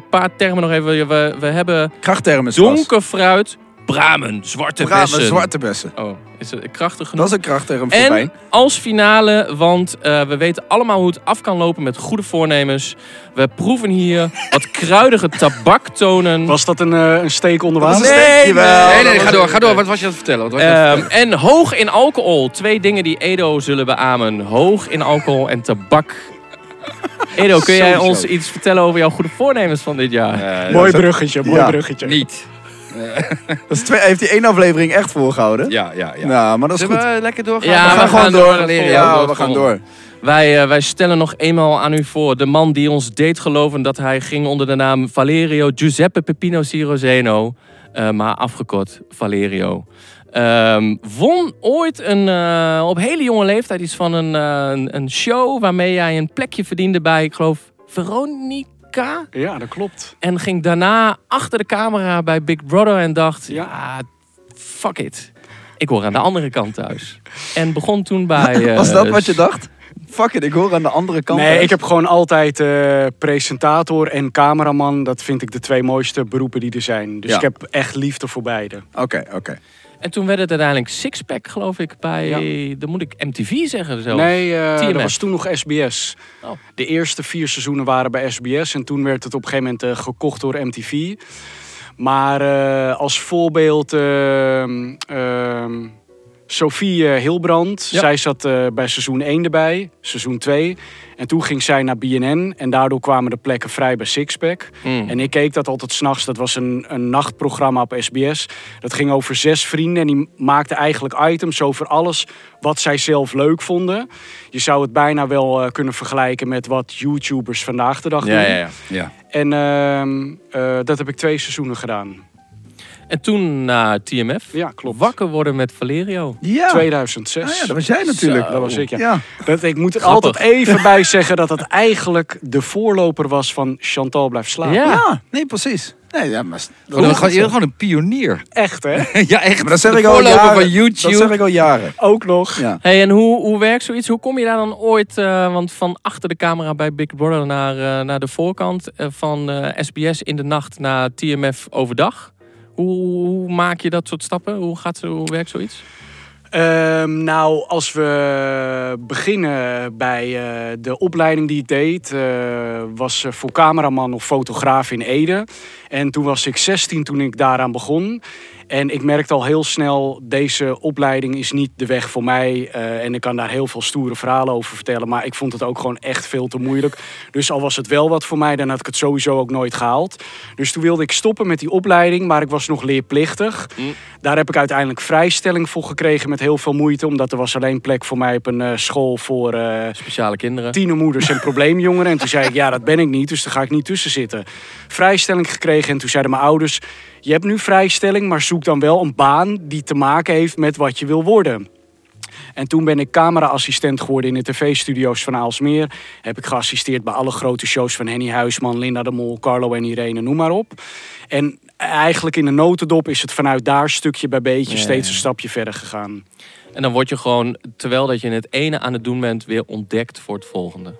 [SPEAKER 3] paar termen nog even. We, we hebben
[SPEAKER 2] Krachttermen. Sebas.
[SPEAKER 3] donker fruit, Bramen, zwarte
[SPEAKER 2] Bramen,
[SPEAKER 3] bessen.
[SPEAKER 2] zwarte bessen.
[SPEAKER 3] Oh, is het krachtig genoeg?
[SPEAKER 2] Dat is een krachtterm voor
[SPEAKER 3] En
[SPEAKER 2] wijn.
[SPEAKER 3] als finale, want eh, we weten allemaal hoe het af kan lopen met goede voornemens. We proeven hier wat kruidige tabaktonen.
[SPEAKER 5] Was dat een, eh, een steek onder
[SPEAKER 2] Dat was
[SPEAKER 5] water?
[SPEAKER 2] een
[SPEAKER 3] Nee,
[SPEAKER 2] steekje
[SPEAKER 3] nee.
[SPEAKER 2] wel.
[SPEAKER 4] nee,
[SPEAKER 3] dat
[SPEAKER 4] nee,
[SPEAKER 3] was
[SPEAKER 4] ga door,
[SPEAKER 3] het.
[SPEAKER 4] ga door. Wat was je aan het vertellen? Wat was je aan het
[SPEAKER 3] Ehm, en hoog in alcohol. Twee dingen die Edo zullen beamen. Hoog in alcohol en tabak. Edo, kun jij
[SPEAKER 4] Sowieso.
[SPEAKER 3] ons iets vertellen over jouw goede voornemens van dit jaar?
[SPEAKER 4] vertellen? Eh,
[SPEAKER 5] Mooi bruggetje, mooi
[SPEAKER 2] Ja.
[SPEAKER 5] bruggetje.
[SPEAKER 4] Niet.
[SPEAKER 2] Dat is twee, heeft hij één aflevering echt voorgehouden.
[SPEAKER 4] Ja, ja, ja.
[SPEAKER 2] Nou, maar dat is
[SPEAKER 4] Zullen
[SPEAKER 2] goed.
[SPEAKER 4] we lekker doorgaan?
[SPEAKER 3] Ja,
[SPEAKER 2] we gaan
[SPEAKER 3] we
[SPEAKER 2] gewoon
[SPEAKER 3] gaan
[SPEAKER 2] door.
[SPEAKER 3] door, dat
[SPEAKER 2] leren.
[SPEAKER 3] volgen we,
[SPEAKER 2] Ja,
[SPEAKER 3] dat
[SPEAKER 2] we gaan
[SPEAKER 3] volgen we.
[SPEAKER 2] door.
[SPEAKER 3] Wij, eh, wij stellen nog eenmaal aan u voor de man die ons deed geloven dat hij ging onder de naam Valerio Giuseppe Peppino Cirozeno, eh, maar afgekort Valerio. Ehm, won ooit een, eh, op hele jonge leeftijd iets van een, eh, een, een show waarmee jij een plekje verdiende bij, ik geloof, Veronica.
[SPEAKER 5] Ja, dat klopt.
[SPEAKER 3] En ging daarna achter de camera bij Big Brother en dacht, ja,
[SPEAKER 5] Ja.
[SPEAKER 3] fuck it. Ik hoor aan de andere kant thuis. En begon toen bij... eh,
[SPEAKER 2] Was dat wat je dacht? Fuck it, ik hoor aan de andere kant.
[SPEAKER 5] Nee,
[SPEAKER 2] uit.
[SPEAKER 5] ik heb gewoon altijd eh, presentator en cameraman. Dat vind ik de twee mooiste beroepen die er zijn. Dus
[SPEAKER 2] Ja.
[SPEAKER 5] ik heb echt liefde voor beide.
[SPEAKER 2] Oké, oké.
[SPEAKER 3] En toen werd het uiteindelijk Sixpack, geloof ik, bij... Dan moet ik MTV zeggen zelfs.
[SPEAKER 5] Nee, eh dat
[SPEAKER 3] TMF.
[SPEAKER 5] was toen nog SBS.
[SPEAKER 3] Oh.
[SPEAKER 5] De eerste vier seizoenen waren bij SBS. En toen werd het op een gegeven moment eh, gekocht door MTV. Maar eh, als voorbeeld... ehm, ehm, Sophie eh, Hilbrand,
[SPEAKER 3] Ja.
[SPEAKER 5] zij zat eh, bij seizoen 1 erbij, seizoen 2. En toen ging zij naar BNN en daardoor kwamen de plekken vrij bij Sixpack.
[SPEAKER 3] Hmm.
[SPEAKER 5] En ik keek dat altijd s'nachts. Dat was een, een nachtprogramma op SBS. Dat ging over zes vrienden. En die maakten eigenlijk items over alles wat zij zelf leuk vonden. Je zou het bijna wel eh, kunnen vergelijken met wat YouTubers vandaag de dag doen.
[SPEAKER 4] Ja, ja, ja. ja.
[SPEAKER 5] En ehm, eh, dat heb ik twee seizoenen gedaan.
[SPEAKER 3] En toen naar TMF.
[SPEAKER 5] Ja, klopt.
[SPEAKER 3] Wakker worden met Valerio.
[SPEAKER 2] Ja.
[SPEAKER 5] 2006.
[SPEAKER 2] Ah ja, dat was jij natuurlijk.
[SPEAKER 5] Dat was ik, ja.
[SPEAKER 2] Ja.
[SPEAKER 5] Dat, ik moet er
[SPEAKER 3] Grappig.
[SPEAKER 5] altijd even bij zeggen dat het eigenlijk de voorloper was van Chantal blijft slapen.
[SPEAKER 3] Ja.
[SPEAKER 2] Ja, nee, precies. Nee, ja, maar
[SPEAKER 4] Gewoon, een- gewoon, je bent gewoon een pionier.
[SPEAKER 5] Echt, hè?
[SPEAKER 4] ja, echt.
[SPEAKER 2] Maar dat zeg
[SPEAKER 4] De
[SPEAKER 2] ik al
[SPEAKER 4] voorloper
[SPEAKER 2] jaren.
[SPEAKER 4] van YouTube.
[SPEAKER 2] Dat zeg ik al jaren.
[SPEAKER 5] Ook nog.
[SPEAKER 2] Ja.
[SPEAKER 3] Hey, en hoe, hoe werkt zoiets? Hoe kom je daar dan ooit eh, want van achter de camera bij Big Brother naar, eh, naar de voorkant? eh, van eh, SBS in de nacht naar TMF overdag? Hoe, hoe maak je dat soort stappen? Hoe, gaat, zo- hoe werkt zoiets?
[SPEAKER 5] Ehm, nou, als we beginnen bij eh, de opleiding die ik deed, eh, was eh, voor cameraman of fotograaf in Ede. En toen was ik 16 toen ik daaraan begon. En ik merkte al heel snel, deze opleiding is niet de weg voor mij. Eh, en ik kan daar heel veel stoere verhalen over vertellen. Maar ik vond het ook gewoon echt veel te moeilijk. Dus al was het wel wat voor mij, dan had ik het sowieso ook nooit gehaald. Dus toen wilde ik stoppen met die opleiding, maar ik was nog leerplichtig. Daar heb ik uiteindelijk vrijstelling voor gekregen met heel veel moeite. Omdat er was alleen plek voor mij op een eh, school voor eh,
[SPEAKER 3] Speciale kinderen.
[SPEAKER 5] tienermoeders en probleemjongeren. En toen zei ik, ja, dat ben ik niet, dus daar ga ik niet tussen zitten. Vrijstelling gekregen en toen zeiden mijn ouders... je hebt nu vrijstelling, maar zoek dan wel een baan die te maken heeft met wat je wil worden. En toen ben ik cameraassistent geworden in de tv-studio's van Aalsmeer. Heb ik geassisteerd bij alle grote shows van Henny Huisman, Linda de Mol, Carlo en Irene, noem maar op. En eigenlijk in de notendop is het vanuit daar stukje bij beetje
[SPEAKER 3] Ja,
[SPEAKER 5] steeds
[SPEAKER 3] ja.
[SPEAKER 5] een stapje verder gegaan.
[SPEAKER 3] En dan word je gewoon, terwijl dat je het ene aan het doen bent, weer ontdekt voor het volgende.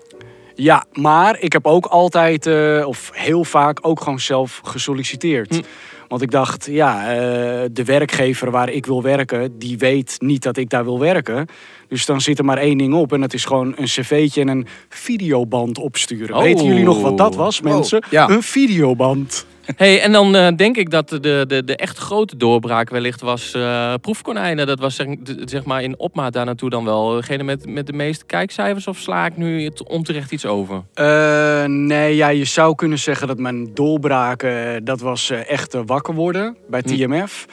[SPEAKER 5] Ja, maar ik heb ook altijd, eh, of heel vaak, ook gewoon zelf gesolliciteerd. Want ik dacht, ja, eh, de werkgever waar ik wil werken, die weet niet dat ik daar wil werken. Dus dan zit er maar één ding op en dat is gewoon een cv'tje en een videoband opsturen.
[SPEAKER 3] Oh.
[SPEAKER 5] Weten jullie nog wat dat was, mensen?
[SPEAKER 2] ja.
[SPEAKER 5] Een videoband.
[SPEAKER 3] Hey, en dan eh, denk ik dat de, de, de echt grote doorbraak wellicht was eh, proefkonijnen. Dat was zeg, d- zeg maar in opmaat daar naartoe dan wel. eh, Degene met, met de meeste kijkcijfers of sla ik nu het onterecht iets over?
[SPEAKER 5] Eh, nee, ja, je zou kunnen zeggen dat mijn doorbraak, eh, dat was eh, echt eh, wakker worden bij
[SPEAKER 3] Hm.
[SPEAKER 5] TMF.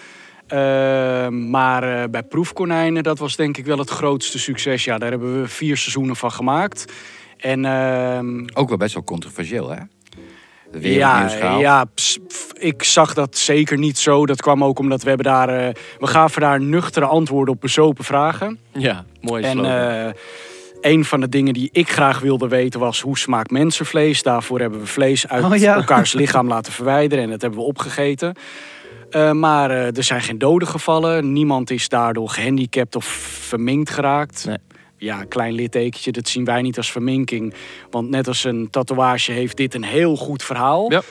[SPEAKER 5] Eh, maar eh, bij Proefkonijnen, dat was denk ik wel het grootste succes. Ja, daar hebben we vier seizoenen van gemaakt. En ehm,
[SPEAKER 4] Ook wel best wel controversieel, hè? Weer
[SPEAKER 5] ja,
[SPEAKER 4] nieuws gehaald.
[SPEAKER 5] ja ps- f- ik zag dat zeker niet zo. Dat kwam ook omdat we hebben daar, eh, we gaven daar nuchtere antwoorden op bezopen vragen.
[SPEAKER 3] Ja, mooi
[SPEAKER 5] En
[SPEAKER 3] slogan.
[SPEAKER 5] eh, een van de dingen die ik graag wilde weten was hoe smaakt mensenvlees. Daarvoor hebben we vlees uit
[SPEAKER 2] Oh, ja.
[SPEAKER 5] elkaars lichaam laten verwijderen en dat hebben we opgegeten. Eh, maar eh, er zijn geen doden gevallen. Niemand is daardoor gehandicapt of verminkt geraakt.
[SPEAKER 3] Nee.
[SPEAKER 5] Ja, een klein littekentje, dat zien wij niet als verminking. Want net als een tatoeage heeft dit een heel goed verhaal.
[SPEAKER 3] Ja.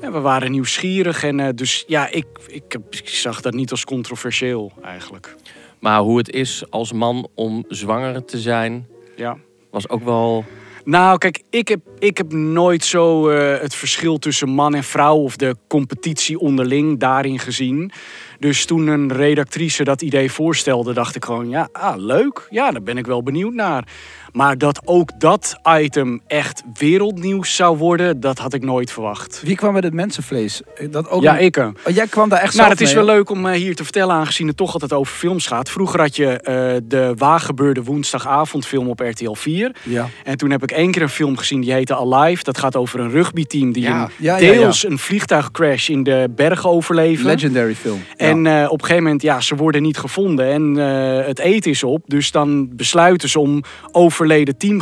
[SPEAKER 5] Ja, we waren nieuwsgierig en eh, dus ja, ik, ik, heb- ik zag dat niet als controversieel eigenlijk.
[SPEAKER 3] Maar hoe het is als man om zwanger te zijn,
[SPEAKER 5] Ja.
[SPEAKER 3] was ook wel...
[SPEAKER 5] Nou, kijk, ik heb, ik heb nooit zo eh, het verschil tussen man en vrouw of de competitie onderling daarin gezien. Dus toen een redactrice dat idee voorstelde, dacht ik gewoon, ja, ah, leuk. Ja, daar ben ik wel benieuwd naar. Maar dat ook dat item echt wereldnieuws zou worden, dat had ik nooit verwacht.
[SPEAKER 2] Wie kwam met het mensenvlees? Dat ook
[SPEAKER 5] Ja,
[SPEAKER 2] nog-
[SPEAKER 5] ik. eh,
[SPEAKER 2] Oh, jij kwam daar echt
[SPEAKER 5] Nou,
[SPEAKER 2] zelf
[SPEAKER 5] het is
[SPEAKER 2] mee,
[SPEAKER 5] wel leuk om eh, hier te vertellen, aangezien het toch altijd over films gaat. Vroeger had je eh, de Waargebeurde woensdagavondfilm op RTL 4.
[SPEAKER 2] Ja.
[SPEAKER 5] En toen heb ik één keer een film gezien die heette Alive. Dat gaat over een rugbyteam die
[SPEAKER 4] Ja.
[SPEAKER 5] een-
[SPEAKER 2] Ja, ja, ja.
[SPEAKER 5] deels een vliegtuigcrash in de bergen overleven.
[SPEAKER 2] Legendary film.
[SPEAKER 5] En eh, op een gegeven moment, ja, ze worden niet gevonden en eh, het eten is op. Dus dan besluiten ze om overleden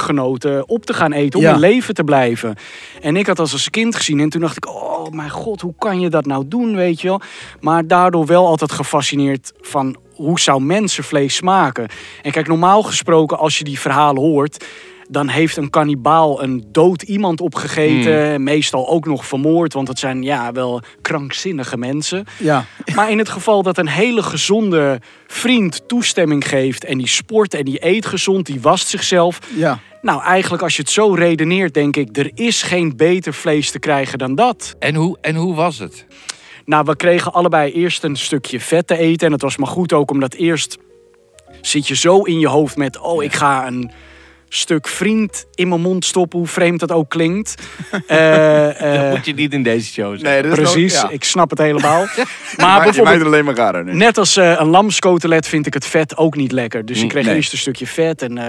[SPEAKER 5] teamgenoten op te gaan eten, om
[SPEAKER 2] Ja.
[SPEAKER 5] in leven te blijven. En ik had dat als kind gezien en toen dacht ik, oh mijn god, hoe kan je dat nou doen, weet je wel? Maar daardoor wel altijd gefascineerd van hoe zou mensenvlees smaken? En kijk, normaal gesproken, als je die verhalen hoort... Dan heeft een kannibaal een dood iemand opgegeten.
[SPEAKER 2] Hmm.
[SPEAKER 5] Meestal ook nog vermoord. Want het zijn ja, wel krankzinnige mensen.
[SPEAKER 2] ja.
[SPEAKER 5] Ah. Maar in het geval dat een hele gezonde vriend toestemming geeft en die sport en die eet gezond, die wast zichzelf.
[SPEAKER 2] ja.
[SPEAKER 5] Nou, eigenlijk als je het zo redeneert, denk ik, er is geen beter vlees te krijgen dan dat.
[SPEAKER 4] En hoe, en hoe was het?
[SPEAKER 5] Nou, we kregen allebei eerst een stukje vet te eten en het was maar goed ook omdat eerst zit je zo in je hoofd met, oh, ik ga een stuk vriend in mijn mond stoppen, hoe vreemd dat ook klinkt. Eh, eh,
[SPEAKER 3] Moet je niet in deze show zijn.
[SPEAKER 6] Nee, dat
[SPEAKER 2] dus
[SPEAKER 6] is
[SPEAKER 5] precies,
[SPEAKER 6] nog- ja.
[SPEAKER 5] ik snap het helemaal.
[SPEAKER 6] Maar
[SPEAKER 5] Maar
[SPEAKER 6] je maakt
[SPEAKER 5] bijvoorbeeld
[SPEAKER 6] het alleen maar raar nu.
[SPEAKER 5] Net als eh, een lamskotelet vind ik het vet ook niet lekker. Dus ik kreeg
[SPEAKER 6] Nee.
[SPEAKER 5] eerst een stukje vet en... eh,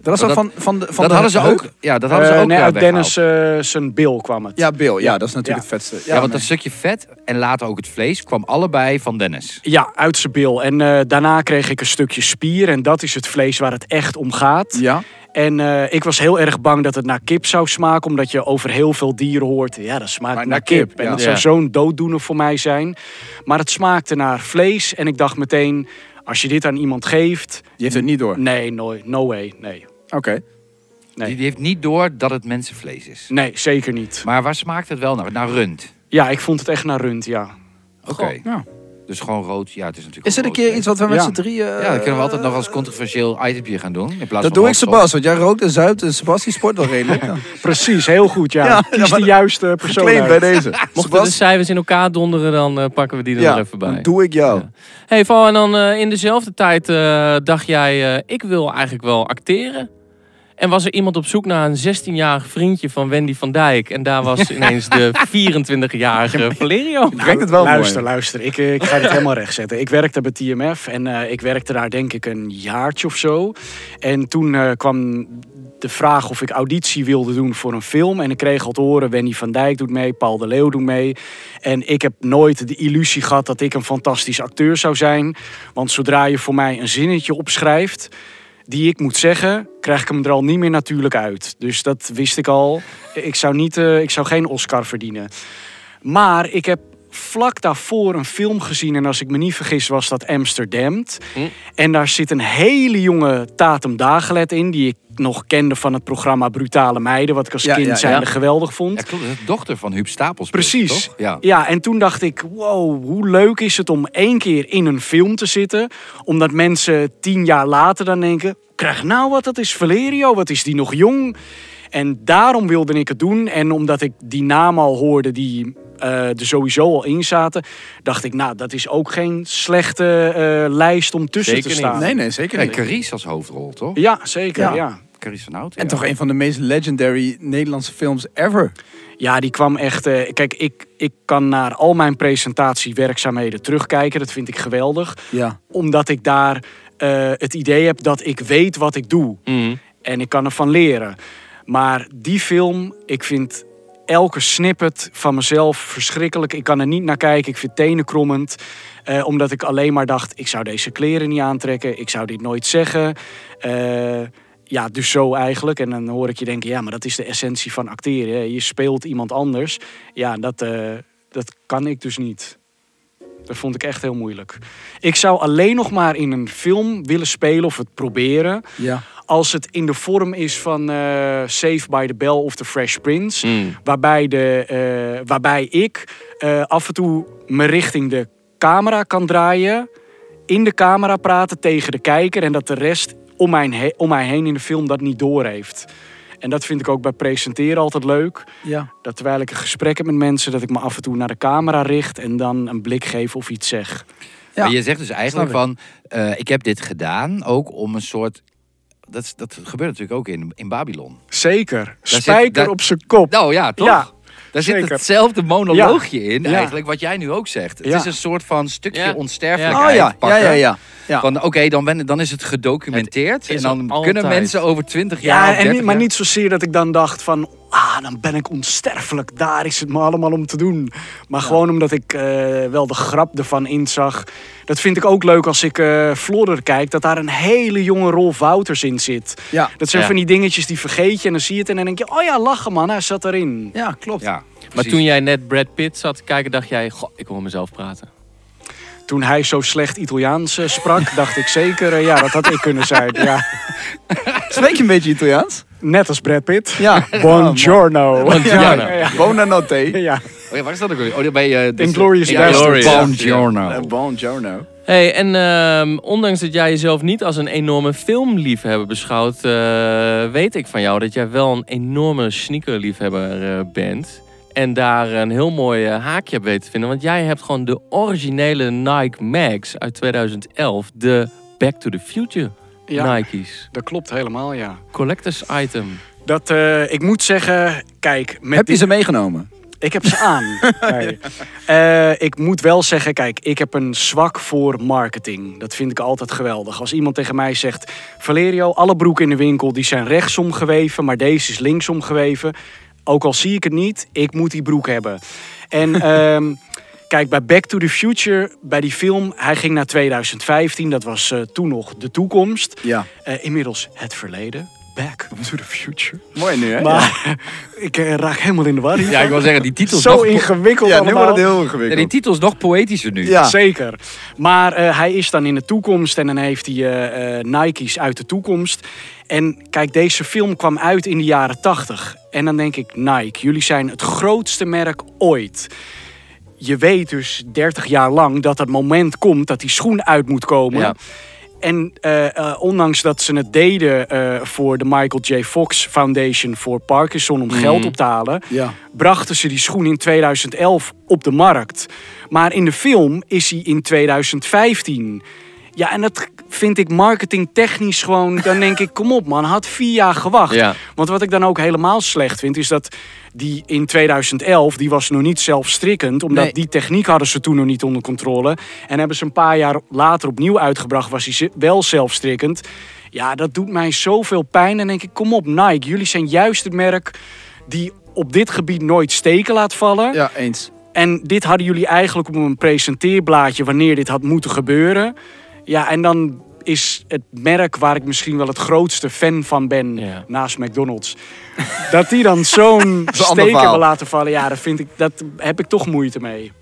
[SPEAKER 2] Dat was
[SPEAKER 4] Maar
[SPEAKER 2] dan
[SPEAKER 4] dat-
[SPEAKER 2] van, van de van
[SPEAKER 4] dat
[SPEAKER 2] de
[SPEAKER 4] hadden ze
[SPEAKER 2] heup?
[SPEAKER 4] ook. Ja, dat hadden ze
[SPEAKER 5] eh,
[SPEAKER 4] ook.
[SPEAKER 5] nee,
[SPEAKER 4] ja,
[SPEAKER 5] uit
[SPEAKER 4] weggehaald.
[SPEAKER 5] Dennis eh, zijn bil kwam het.
[SPEAKER 2] Ja, Bill. eh, Ja, dat is natuurlijk
[SPEAKER 5] Ja.
[SPEAKER 2] het vetste.
[SPEAKER 4] Ja, want dat
[SPEAKER 2] nee.
[SPEAKER 4] stukje vet en later ook het vlees kwam allebei van Dennis.
[SPEAKER 5] Ja, uit zijn bil. En eh, daarna kreeg ik een stukje spier. En dat is het vlees waar het echt om gaat.
[SPEAKER 2] Ja.
[SPEAKER 5] En eh, ik was heel erg bang dat het naar kip zou smaken. Omdat je over heel veel dieren hoort. Ja, dat smaakt
[SPEAKER 2] Maar
[SPEAKER 5] naar
[SPEAKER 2] naar
[SPEAKER 5] kip.
[SPEAKER 2] kip,
[SPEAKER 5] En
[SPEAKER 2] ja.
[SPEAKER 5] dat
[SPEAKER 3] Ja.
[SPEAKER 5] zou zo'n dooddoener voor mij zijn. Maar het smaakte naar vlees. En ik dacht meteen, als je dit aan iemand geeft...
[SPEAKER 2] Die heeft het niet door.
[SPEAKER 5] Nee, no, no way. Nee.
[SPEAKER 2] Oké.
[SPEAKER 5] Nee.
[SPEAKER 4] Die, die heeft niet door dat het mensenvlees is.
[SPEAKER 5] nee, zeker niet.
[SPEAKER 4] Maar waar smaakt het wel naar? Naar rund.
[SPEAKER 5] Ja, ik vond het echt naar rund, ja.
[SPEAKER 4] Oké.
[SPEAKER 2] Nou.
[SPEAKER 4] Dus gewoon rood. Ja, het is natuurlijk
[SPEAKER 2] Is er een keer
[SPEAKER 4] gewoon rood
[SPEAKER 2] iets wat we met
[SPEAKER 5] Ja.
[SPEAKER 2] z'n drieën... eh,
[SPEAKER 4] vlees. Ja, dat kunnen we altijd nog als controversieel itempje gaan doen. In plaats
[SPEAKER 2] Dat
[SPEAKER 4] van
[SPEAKER 2] doe ik
[SPEAKER 4] hotdog.
[SPEAKER 2] Sebas, want jij rookt en zuipt en Sebas die sport wel redelijk. Ja.
[SPEAKER 5] Precies, heel goed, ja.
[SPEAKER 2] Ja,
[SPEAKER 5] Kies de juiste persoon
[SPEAKER 6] Claim bij
[SPEAKER 5] uit.
[SPEAKER 6] deze.
[SPEAKER 3] Mochten de
[SPEAKER 6] Sebas,
[SPEAKER 3] cijfers in elkaar donderen, dan eh, pakken we die er nog
[SPEAKER 6] ja,
[SPEAKER 3] even bij.
[SPEAKER 6] dan doe ik jou.
[SPEAKER 3] Ja. Hey Val, en dan eh, in dezelfde tijd eh, dacht jij, eh, ik wil eigenlijk wel acteren. En was er iemand op zoek naar een 16-jarig vriendje van Wendy van Dijk. En daar was ineens de 24-jarige Valerio.
[SPEAKER 6] Brengt het wel
[SPEAKER 5] luister,
[SPEAKER 6] mooi.
[SPEAKER 5] luister. Ik, eh, ik ga dit helemaal recht zetten. Ik werkte bij TMF en eh, ik werkte daar denk ik een jaartje of zo. En toen eh, kwam de vraag of ik auditie wilde doen voor een film. En ik kreeg al te horen, Wendy van Dijk doet mee, Paul de Leeuw doet mee. En ik heb nooit de illusie gehad dat ik een fantastisch acteur zou zijn. Want zodra je voor mij een zinnetje opschrijft... Die ik moet zeggen, krijg ik hem er al niet meer natuurlijk uit. Dus dat wist ik al. Ik zou, niet, eh, ik zou geen Oscar verdienen. Maar ik heb vlak daarvoor een film gezien. En als ik me niet vergis, was dat Amsterdam.
[SPEAKER 2] Hm?
[SPEAKER 5] En daar zit een hele jonge Tatum Dagelet in. Die ik nog kende van het programma Brutale Meiden. Wat ik als
[SPEAKER 2] Ja,
[SPEAKER 5] kind
[SPEAKER 2] ja, ja.
[SPEAKER 5] zijnde geweldig vond.
[SPEAKER 4] Ja, klopt. Dat is de dochter van Huub Stapels.
[SPEAKER 5] Precies.
[SPEAKER 4] toch? Ja.
[SPEAKER 5] Ja, en toen dacht ik, wow, hoe leuk is het om één keer in een film te zitten. Omdat mensen tien jaar later dan denken, krijg nou wat, dat is Valerio, wat is die nog jong. En daarom wilde ik het doen. En omdat ik die naam al hoorde die eh, er sowieso al in zaten, dacht ik, nou, dat is ook geen slechte eh, lijst om tussen
[SPEAKER 3] Zeker
[SPEAKER 5] te
[SPEAKER 3] niet.
[SPEAKER 5] staan.
[SPEAKER 2] Nee, nee, zeker
[SPEAKER 4] En
[SPEAKER 2] niet.
[SPEAKER 4] Carice als hoofdrol, toch?
[SPEAKER 5] Ja, zeker,
[SPEAKER 2] Ja.
[SPEAKER 5] ja.
[SPEAKER 4] Carice van Houten.
[SPEAKER 2] En
[SPEAKER 4] ja.
[SPEAKER 2] toch een van de meest legendary Nederlandse films ever.
[SPEAKER 5] Ja, die kwam echt. eh, kijk, ik, ik kan naar al mijn presentatiewerkzaamheden terugkijken. Dat vind ik geweldig.
[SPEAKER 2] Ja.
[SPEAKER 5] Omdat ik daar eh, het idee heb dat ik weet wat ik doe.
[SPEAKER 3] Mm.
[SPEAKER 5] En ik kan ervan leren. Maar die film, ik vind elke snippet van mezelf verschrikkelijk. Ik kan er niet naar kijken. Ik vind het tenenkrommend. Eh, omdat ik alleen maar dacht, ik zou deze kleren niet aantrekken. Ik zou dit nooit zeggen. Eh, ja, dus zo eigenlijk. En dan hoor ik je denken, ja, maar dat is de essentie van acteren. hè. Je speelt iemand anders. Ja, dat, eh, dat kan ik dus niet. Dat vond ik echt heel moeilijk. Ik zou alleen nog maar in een film willen spelen of het proberen
[SPEAKER 2] Ja.
[SPEAKER 5] als het in de vorm is van eh Save by the Bell of The Fresh Prince.
[SPEAKER 3] Mm.
[SPEAKER 5] Waarbij, de, eh, waarbij ik eh, af en toe me richting de camera kan draaien. In de camera praten tegen de kijker. En dat de rest om, mijn he- om mij heen in de film dat niet doorheeft. En dat vind ik ook bij presenteren altijd leuk.
[SPEAKER 2] Ja.
[SPEAKER 5] Dat terwijl ik een gesprek heb met mensen, dat ik me af en toe naar de camera richt. En dan een blik geef of iets zeg.
[SPEAKER 2] Ja.
[SPEAKER 4] Maar je zegt dus eigenlijk
[SPEAKER 2] Snap
[SPEAKER 4] van, eh, ik heb dit gedaan ook om een soort... Dat, is- dat gebeurt natuurlijk ook in, in Babylon.
[SPEAKER 5] Zeker.
[SPEAKER 4] zit-
[SPEAKER 5] Spijker
[SPEAKER 4] daar-
[SPEAKER 5] op zijn kop.
[SPEAKER 4] Nou ja, toch?
[SPEAKER 5] Ja,
[SPEAKER 4] Daar zit
[SPEAKER 5] zeker.
[SPEAKER 4] hetzelfde monoloogje in
[SPEAKER 5] Ja.
[SPEAKER 4] eigenlijk, wat jij nu ook zegt. Het
[SPEAKER 5] Ja.
[SPEAKER 4] is een soort van stukje
[SPEAKER 3] Ja.
[SPEAKER 4] onsterfelijkheid
[SPEAKER 2] Oh ja, ja,
[SPEAKER 4] pakken.
[SPEAKER 2] ja, ja. ja.
[SPEAKER 4] Van oké, dan, ben- dan is het gedocumenteerd.
[SPEAKER 3] Het is
[SPEAKER 4] en dan
[SPEAKER 3] er
[SPEAKER 4] kunnen
[SPEAKER 3] altijd.
[SPEAKER 4] mensen over 20 jaar.
[SPEAKER 5] Ja,
[SPEAKER 4] of
[SPEAKER 5] en
[SPEAKER 4] 30
[SPEAKER 5] niet, maar
[SPEAKER 4] jaar-
[SPEAKER 5] niet zozeer dat ik dan dacht van... Ah, dan ben ik onsterfelijk. Daar is het me allemaal om te doen. Maar gewoon omdat ik eh, wel de grap ervan inzag. Dat vind ik ook leuk als ik eh Flodder kijk. Dat daar een hele jonge Rolf Wouters in zit.
[SPEAKER 2] Ja.
[SPEAKER 5] Dat zijn
[SPEAKER 3] Ja.
[SPEAKER 5] van die dingetjes die vergeet je. En dan zie je het en dan denk je... Oh ja, lachen man, hij zat erin.
[SPEAKER 2] Ja, klopt.
[SPEAKER 4] Ja,
[SPEAKER 3] Maar
[SPEAKER 4] precies.
[SPEAKER 3] toen jij net Brad Pitt zat te kijken, dacht jij, goh, ik hoor mezelf praten.
[SPEAKER 5] Toen hij zo slecht Italiaans eh, sprak, dacht ik zeker... eh, ja, dat had ik kunnen zijn. Ja.
[SPEAKER 2] Spreek je een beetje Italiaans?
[SPEAKER 5] Net als Brad Pitt.
[SPEAKER 2] Ja.
[SPEAKER 5] Buongiorno.
[SPEAKER 3] Ja,
[SPEAKER 5] Ja, ja.
[SPEAKER 2] Buona notte.
[SPEAKER 5] Ja.
[SPEAKER 4] Oh ja, waar is dat ook weer? Oh, bij eh, dit-
[SPEAKER 5] Inglourious
[SPEAKER 4] Ja,
[SPEAKER 5] Basterds.
[SPEAKER 4] Buongiorno.
[SPEAKER 2] Eh, Buongiorno.
[SPEAKER 3] Hey, en ehm, ondanks dat jij jezelf niet als een enorme filmliefhebber beschouwt, eh, weet ik van jou dat jij wel een enorme sneakerliefhebber eh, bent. En daar een heel mooi eh, haakje op weet te vinden. Want jij hebt gewoon de originele Nike Max uit 2011. De Back to the Future
[SPEAKER 5] Ja,
[SPEAKER 3] Nikes.
[SPEAKER 5] dat klopt helemaal, ja.
[SPEAKER 3] Collectors item.
[SPEAKER 5] Dat, eh, ik moet zeggen, kijk, met
[SPEAKER 2] Heb je
[SPEAKER 5] dit-
[SPEAKER 2] ze meegenomen?
[SPEAKER 5] ik heb ze aan. Nee. Eh, ik moet wel zeggen, kijk, ik heb een zwak voor marketing. Dat vind ik altijd geweldig. Als iemand tegen mij zegt, Valerio, alle broeken in de winkel die zijn rechtsom geweven, maar deze is linksom geweven. Ook al zie ik het niet, ik moet die broek hebben. En ehm, kijk, bij Back to the Future, bij die film, hij ging naar 2015. Dat was eh, toen nog de toekomst.
[SPEAKER 2] Ja.
[SPEAKER 5] Eh, inmiddels het verleden. Back to the future.
[SPEAKER 2] Mooi nu, hè?
[SPEAKER 5] Maar ik eh, raak helemaal in de war.
[SPEAKER 4] Ja,
[SPEAKER 5] hiervan.
[SPEAKER 4] ik wil zeggen, die titel is
[SPEAKER 5] Zo
[SPEAKER 4] nog, po-
[SPEAKER 5] ingewikkeld
[SPEAKER 2] Ja, nu
[SPEAKER 5] allemaal.
[SPEAKER 2] wordt het heel
[SPEAKER 4] ja, die
[SPEAKER 2] ingewikkeld.
[SPEAKER 4] titel is nog poëtischer nu.
[SPEAKER 2] Ja.
[SPEAKER 5] Zeker. Maar eh, hij is dan in de toekomst en dan heeft hij eh, eh, Nike's uit de toekomst. En kijk, deze film kwam uit in de jaren 80. En dan denk ik, Nike, jullie zijn het grootste merk ooit. Je weet dus 30 jaar lang dat dat moment komt dat die schoen uit moet komen.
[SPEAKER 3] Ja.
[SPEAKER 5] En eh, eh, ondanks dat ze het deden eh, voor de Michael J. Fox Foundation voor Parkinson om geld op te halen,
[SPEAKER 2] Ja.
[SPEAKER 5] brachten ze die schoen in 2011 op de markt. Maar in de film is hij in 2015. Ja, en dat vind ik marketingtechnisch gewoon. Dan denk ik, kom op man, had vier jaar gewacht.
[SPEAKER 3] Ja.
[SPEAKER 5] Want wat ik dan ook helemaal slecht vind, is dat die in 2011, die was nog niet zelfstrikkend. Omdat
[SPEAKER 2] Nee.
[SPEAKER 5] die techniek hadden ze toen nog niet onder controle. En hebben ze een paar jaar later opnieuw uitgebracht, was hij ze- wel zelfstrikkend. Ja, dat doet mij zoveel pijn. En denk ik, kom op Nike, jullie zijn juist het merk die op dit gebied nooit steken laat vallen.
[SPEAKER 2] Ja, eens.
[SPEAKER 5] En dit hadden jullie eigenlijk op een presenteerblaadje wanneer dit had moeten gebeuren. Ja, en dan is het merk waar ik misschien wel het grootste fan van ben,
[SPEAKER 3] Ja.
[SPEAKER 5] naast McDonald's. dat die dan zo'n
[SPEAKER 2] is een ander
[SPEAKER 5] steker
[SPEAKER 2] verhaal.
[SPEAKER 5] wil laten vallen, ja, dat, vind ik, dat heb ik toch moeite mee.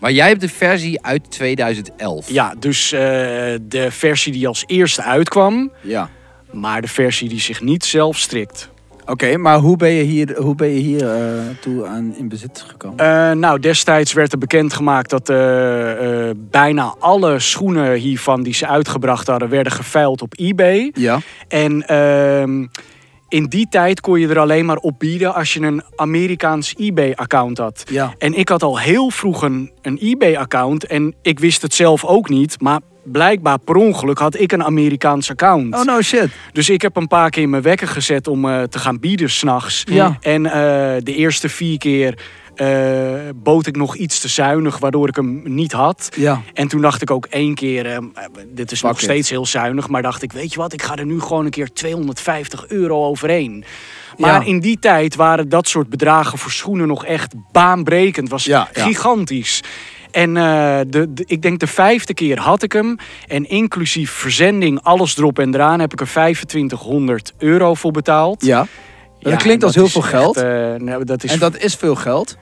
[SPEAKER 4] Maar jij hebt de versie uit 2011.
[SPEAKER 5] Ja, dus eh, de versie die als eerste uitkwam,
[SPEAKER 2] Ja.
[SPEAKER 5] maar de versie die zich niet zelf strikt.
[SPEAKER 2] Oké, maar hoe ben je hier, hoe ben je hier eh, toe aan in bezit gekomen?
[SPEAKER 5] Eh, nou, destijds werd er bekendgemaakt dat eh, eh, bijna alle schoenen hiervan die ze uitgebracht hadden, werden geveild op eBay.
[SPEAKER 2] ja.
[SPEAKER 5] En ehm, in die tijd kon je er alleen maar op bieden als je een Amerikaans eBay-account had.
[SPEAKER 2] Ja.
[SPEAKER 5] En ik had al heel vroeg een, een eBay-account en ik wist het zelf ook niet, maar blijkbaar per ongeluk had ik een Amerikaans account.
[SPEAKER 2] Oh no shit.
[SPEAKER 5] Dus ik heb een paar keer mijn wekker gezet om eh, te gaan bieden s'nachts.
[SPEAKER 2] Ja.
[SPEAKER 5] En eh, de eerste vier keer eh, bood ik nog iets te zuinig, waardoor ik hem niet had.
[SPEAKER 2] Ja.
[SPEAKER 5] En toen dacht ik ook één keer, eh, dit is
[SPEAKER 2] Fuck
[SPEAKER 5] nog
[SPEAKER 2] it.
[SPEAKER 5] steeds heel zuinig, maar dacht ik, weet je wat, ik ga er nu gewoon een keer 250 euro overheen. Maar
[SPEAKER 2] Ja.
[SPEAKER 5] in die tijd waren dat soort bedragen voor schoenen nog echt baanbrekend. Was
[SPEAKER 2] Ja, ja.
[SPEAKER 5] gigantisch. En eh, de, de- ik denk de vijfde keer had ik hem. En inclusief verzending, alles erop en eraan, heb ik er 2500 euro voor betaald.
[SPEAKER 2] Ja.
[SPEAKER 5] Ja,
[SPEAKER 2] dat klinkt
[SPEAKER 5] en
[SPEAKER 2] als heel
[SPEAKER 5] is
[SPEAKER 2] veel
[SPEAKER 5] echt,
[SPEAKER 2] geld.
[SPEAKER 5] eh, nou, dat, is,
[SPEAKER 2] en
[SPEAKER 5] dat...
[SPEAKER 2] dat is veel geld.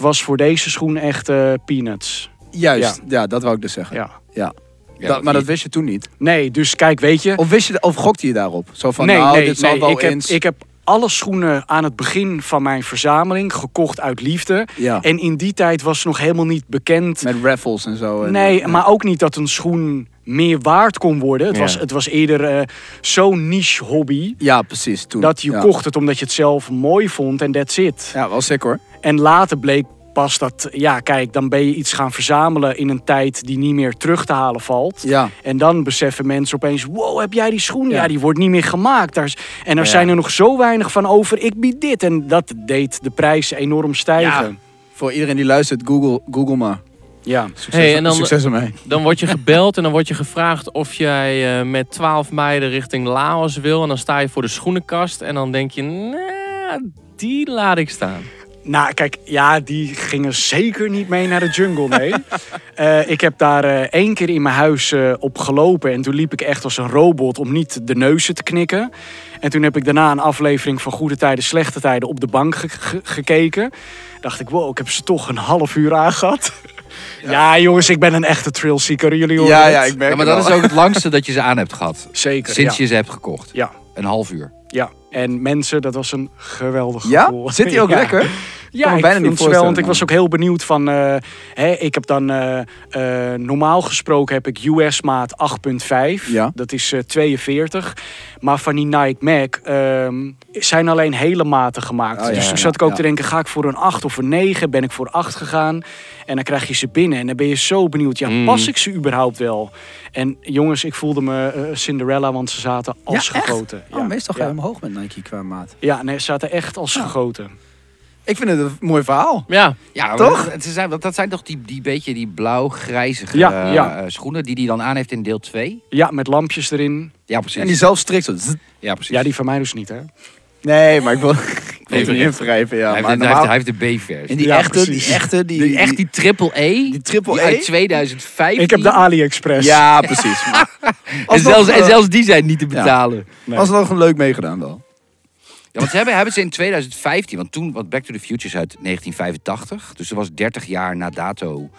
[SPEAKER 5] was voor deze schoen echt eh, peanuts.
[SPEAKER 2] Juist. Ja. dat wou ik dus zeggen.
[SPEAKER 5] Ja.
[SPEAKER 2] Ja.
[SPEAKER 4] Ja,
[SPEAKER 2] dat, maar dat wist je toen niet.
[SPEAKER 5] Nee, dus kijk, weet je...
[SPEAKER 2] Of, wist je, of gokte je daarop? Zo van, nou, dit zal wel
[SPEAKER 5] ik heb,
[SPEAKER 2] eens...
[SPEAKER 5] ik heb alle schoenen aan het begin van mijn verzameling gekocht uit liefde.
[SPEAKER 2] ja,
[SPEAKER 5] En in die tijd was nog helemaal niet bekend.
[SPEAKER 2] met raffles en zo. En, eh,
[SPEAKER 5] Nee,
[SPEAKER 2] ja.
[SPEAKER 5] maar ook niet dat een schoen meer waard kon worden. Het,
[SPEAKER 3] Ja.
[SPEAKER 5] was, het was eerder eh, zo'n niche hobby.
[SPEAKER 2] Ja, precies. Toen.
[SPEAKER 5] Dat je
[SPEAKER 2] ja.
[SPEAKER 5] kocht het omdat je het zelf mooi vond en that's it.
[SPEAKER 2] Ja, wel sick hoor.
[SPEAKER 5] En later bleek pas dat, ja kijk, dan ben je iets gaan verzamelen in een tijd die niet meer terug te halen valt.
[SPEAKER 2] Ja.
[SPEAKER 5] En dan beseffen mensen opeens, wow, heb jij die schoen? Ja,
[SPEAKER 2] Ja.
[SPEAKER 5] die wordt niet meer gemaakt. Daar is- en er
[SPEAKER 3] Ja.
[SPEAKER 5] zijn er nog zo weinig van over, ik bied dit. En dat deed de prijs enorm stijgen.
[SPEAKER 2] Voor iedereen die luistert, Google, Google maar.
[SPEAKER 5] Ja.
[SPEAKER 2] Succes,
[SPEAKER 3] Hey, en dan-
[SPEAKER 2] succes ermee.
[SPEAKER 3] Dan word je gebeld en dan word je gevraagd of jij eh, met 12 meiden richting Laos wil. En dan sta je voor de schoenenkast en dan denk je, nee, die laat ik staan.
[SPEAKER 5] Nou, kijk, ja, die gingen zeker niet mee naar de jungle, nee. Eh, ik heb daar eh, één keer in mijn huis eh, op gelopen. En toen liep ik echt als een robot om niet de neuzen te knikken. En toen heb ik daarna een aflevering van Goede Tijden, Slechte Tijden op de bank ge- ge- gekeken. Dacht ik, wow, ik heb ze toch een half uur aangehad. Ja, jongens, ik ben een echte trailseeker. Jullie horen
[SPEAKER 2] Ja,
[SPEAKER 5] het.
[SPEAKER 2] ja, ik merk
[SPEAKER 4] Ja, maar
[SPEAKER 2] het
[SPEAKER 4] dat
[SPEAKER 2] al.
[SPEAKER 4] is ook het langste dat je ze aan hebt gehad.
[SPEAKER 5] Zeker,
[SPEAKER 4] Sinds
[SPEAKER 5] ja.
[SPEAKER 4] je ze hebt gekocht.
[SPEAKER 5] Ja,
[SPEAKER 4] Een half uur.
[SPEAKER 5] ja. En mensen, dat was een geweldig gevoel.
[SPEAKER 2] Ja? Zit hij ook
[SPEAKER 5] Ja.
[SPEAKER 2] lekker?
[SPEAKER 5] Ja,
[SPEAKER 2] kan me
[SPEAKER 5] ik
[SPEAKER 2] bijna
[SPEAKER 5] vond
[SPEAKER 2] niet
[SPEAKER 5] het wel, want ik
[SPEAKER 2] voorstellen,
[SPEAKER 5] was ook heel benieuwd van... eh, hè, ik heb dan... eh, eh, normaal gesproken heb ik US-maat 8.5.
[SPEAKER 2] Ja.
[SPEAKER 5] Dat is eh, 42. Maar van die Nike Mac ehm, zijn alleen hele maten gemaakt.
[SPEAKER 2] Oh, ja,
[SPEAKER 5] dus
[SPEAKER 2] ja,
[SPEAKER 5] toen
[SPEAKER 2] ja,
[SPEAKER 5] zat ik ook
[SPEAKER 2] ja.
[SPEAKER 5] te denken, ga ik voor een 8 of een 9? Ben ik voor 8 gegaan? En dan krijg je ze binnen. En dan ben je zo benieuwd, ja,
[SPEAKER 3] Mm.
[SPEAKER 5] pas ik ze überhaupt wel? En jongens, ik voelde me eh, Cinderella, want ze zaten als
[SPEAKER 2] echt?
[SPEAKER 5] gegoten.
[SPEAKER 2] Oh, meestal ga je
[SPEAKER 5] ja.
[SPEAKER 2] omhoog met Nike qua maat.
[SPEAKER 5] ja, nee, ze zaten echt als gegoten.
[SPEAKER 2] Ik vind het een mooi verhaal.
[SPEAKER 3] Ja,
[SPEAKER 4] Ja, maar
[SPEAKER 2] Toch?
[SPEAKER 4] Dat, ze zijn, want dat zijn toch die, die beetje die blauw-grijzige
[SPEAKER 5] Ja,
[SPEAKER 4] eh,
[SPEAKER 5] ja.
[SPEAKER 4] eh, schoenen die hij dan aan heeft in deel 2?
[SPEAKER 5] Ja, met lampjes erin.
[SPEAKER 4] Ja, precies.
[SPEAKER 2] En die zelf strikt zo. zzz.
[SPEAKER 4] Ja, precies.
[SPEAKER 5] Ja, die van mij dus niet, hè?
[SPEAKER 2] Nee, maar ik wil, ik wil het niet invrijven. Ja,
[SPEAKER 4] hij, heeft,
[SPEAKER 2] maar
[SPEAKER 4] de- hij, heeft,
[SPEAKER 2] normaal-
[SPEAKER 4] hij heeft de B-versie.
[SPEAKER 2] en die,
[SPEAKER 5] Ja,
[SPEAKER 2] echte, die
[SPEAKER 5] precies.
[SPEAKER 2] echte, die
[SPEAKER 4] Die, echt die triple E?
[SPEAKER 2] die triple
[SPEAKER 4] die
[SPEAKER 2] E?
[SPEAKER 4] uit 2005.
[SPEAKER 5] Ik heb de AliExpress.
[SPEAKER 2] Ja, precies. Maar
[SPEAKER 4] en,
[SPEAKER 2] alsnog,
[SPEAKER 4] zelfs, en
[SPEAKER 2] eh,
[SPEAKER 4] zelfs die zijn niet te betalen. Ja,
[SPEAKER 5] Nee.
[SPEAKER 2] alsnog een leuk meegedaan wel.
[SPEAKER 4] want ze hebben, hebben ze in 2015, want toen, want Back to the Future is uit 1985. Dus dat was 30 jaar na dato.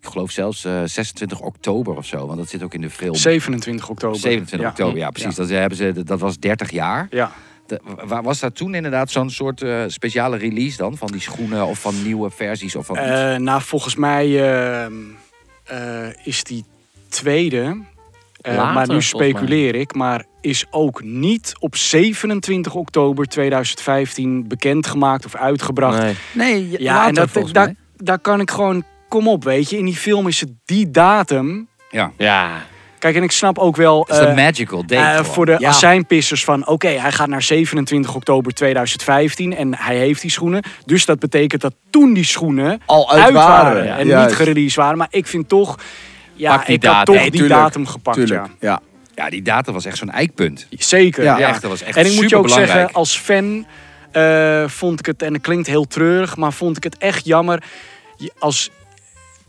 [SPEAKER 4] Ik geloof zelfs eh, 26 oktober of zo, want dat zit ook in de film.
[SPEAKER 5] 27 oktober.
[SPEAKER 4] 27
[SPEAKER 5] Ja.
[SPEAKER 4] oktober, ja precies. Dat, eh, hebben ze, dat was 30 jaar.
[SPEAKER 5] Ja.
[SPEAKER 4] De- wa- was daar toen inderdaad zo'n soort eh, speciale release dan? Van die schoenen of van nieuwe versies of van iets?
[SPEAKER 5] Eh, nou, volgens mij ehm, eh, is die tweede. eh,
[SPEAKER 3] Later,
[SPEAKER 5] maar nu
[SPEAKER 3] volgens
[SPEAKER 5] speculeer ik. Maar is ook niet op 27 oktober 2015 bekendgemaakt of uitgebracht.
[SPEAKER 3] nee.
[SPEAKER 2] Nee,
[SPEAKER 5] Ja, en dat, daar, daar kan ik gewoon. Kom op, weet je. In die film is het die datum.
[SPEAKER 4] ja.
[SPEAKER 3] ja.
[SPEAKER 5] Kijk, en ik snap ook wel.
[SPEAKER 4] Dat is
[SPEAKER 5] eh,
[SPEAKER 4] een magical date.
[SPEAKER 5] Eh,
[SPEAKER 4] gewoon.
[SPEAKER 5] voor de
[SPEAKER 2] Ja.
[SPEAKER 5] azijnpissers van oké, hij gaat naar 27 oktober 2015 en hij heeft die schoenen. Dus dat betekent dat toen die schoenen
[SPEAKER 2] Al uit waren, ja.
[SPEAKER 5] en
[SPEAKER 2] Juist.
[SPEAKER 5] niet gereleased waren. Maar ik vind toch, ja,
[SPEAKER 3] Pak die
[SPEAKER 5] ik had
[SPEAKER 3] datum.
[SPEAKER 5] toch
[SPEAKER 2] Nee,
[SPEAKER 5] die
[SPEAKER 2] tuurlijk.
[SPEAKER 5] datum gepakt.
[SPEAKER 2] Tuurlijk, ja.
[SPEAKER 4] Ja, die data was echt zo'n eikpunt.
[SPEAKER 5] Ja. Zeker.
[SPEAKER 2] Ja.
[SPEAKER 5] Ja.
[SPEAKER 4] Ja, echt, dat was echt
[SPEAKER 5] en ik moet je ook
[SPEAKER 4] superbelangrijk.
[SPEAKER 5] zeggen, als fan eh, vond ik het, en het klinkt heel treurig, maar vond ik het echt jammer je- als...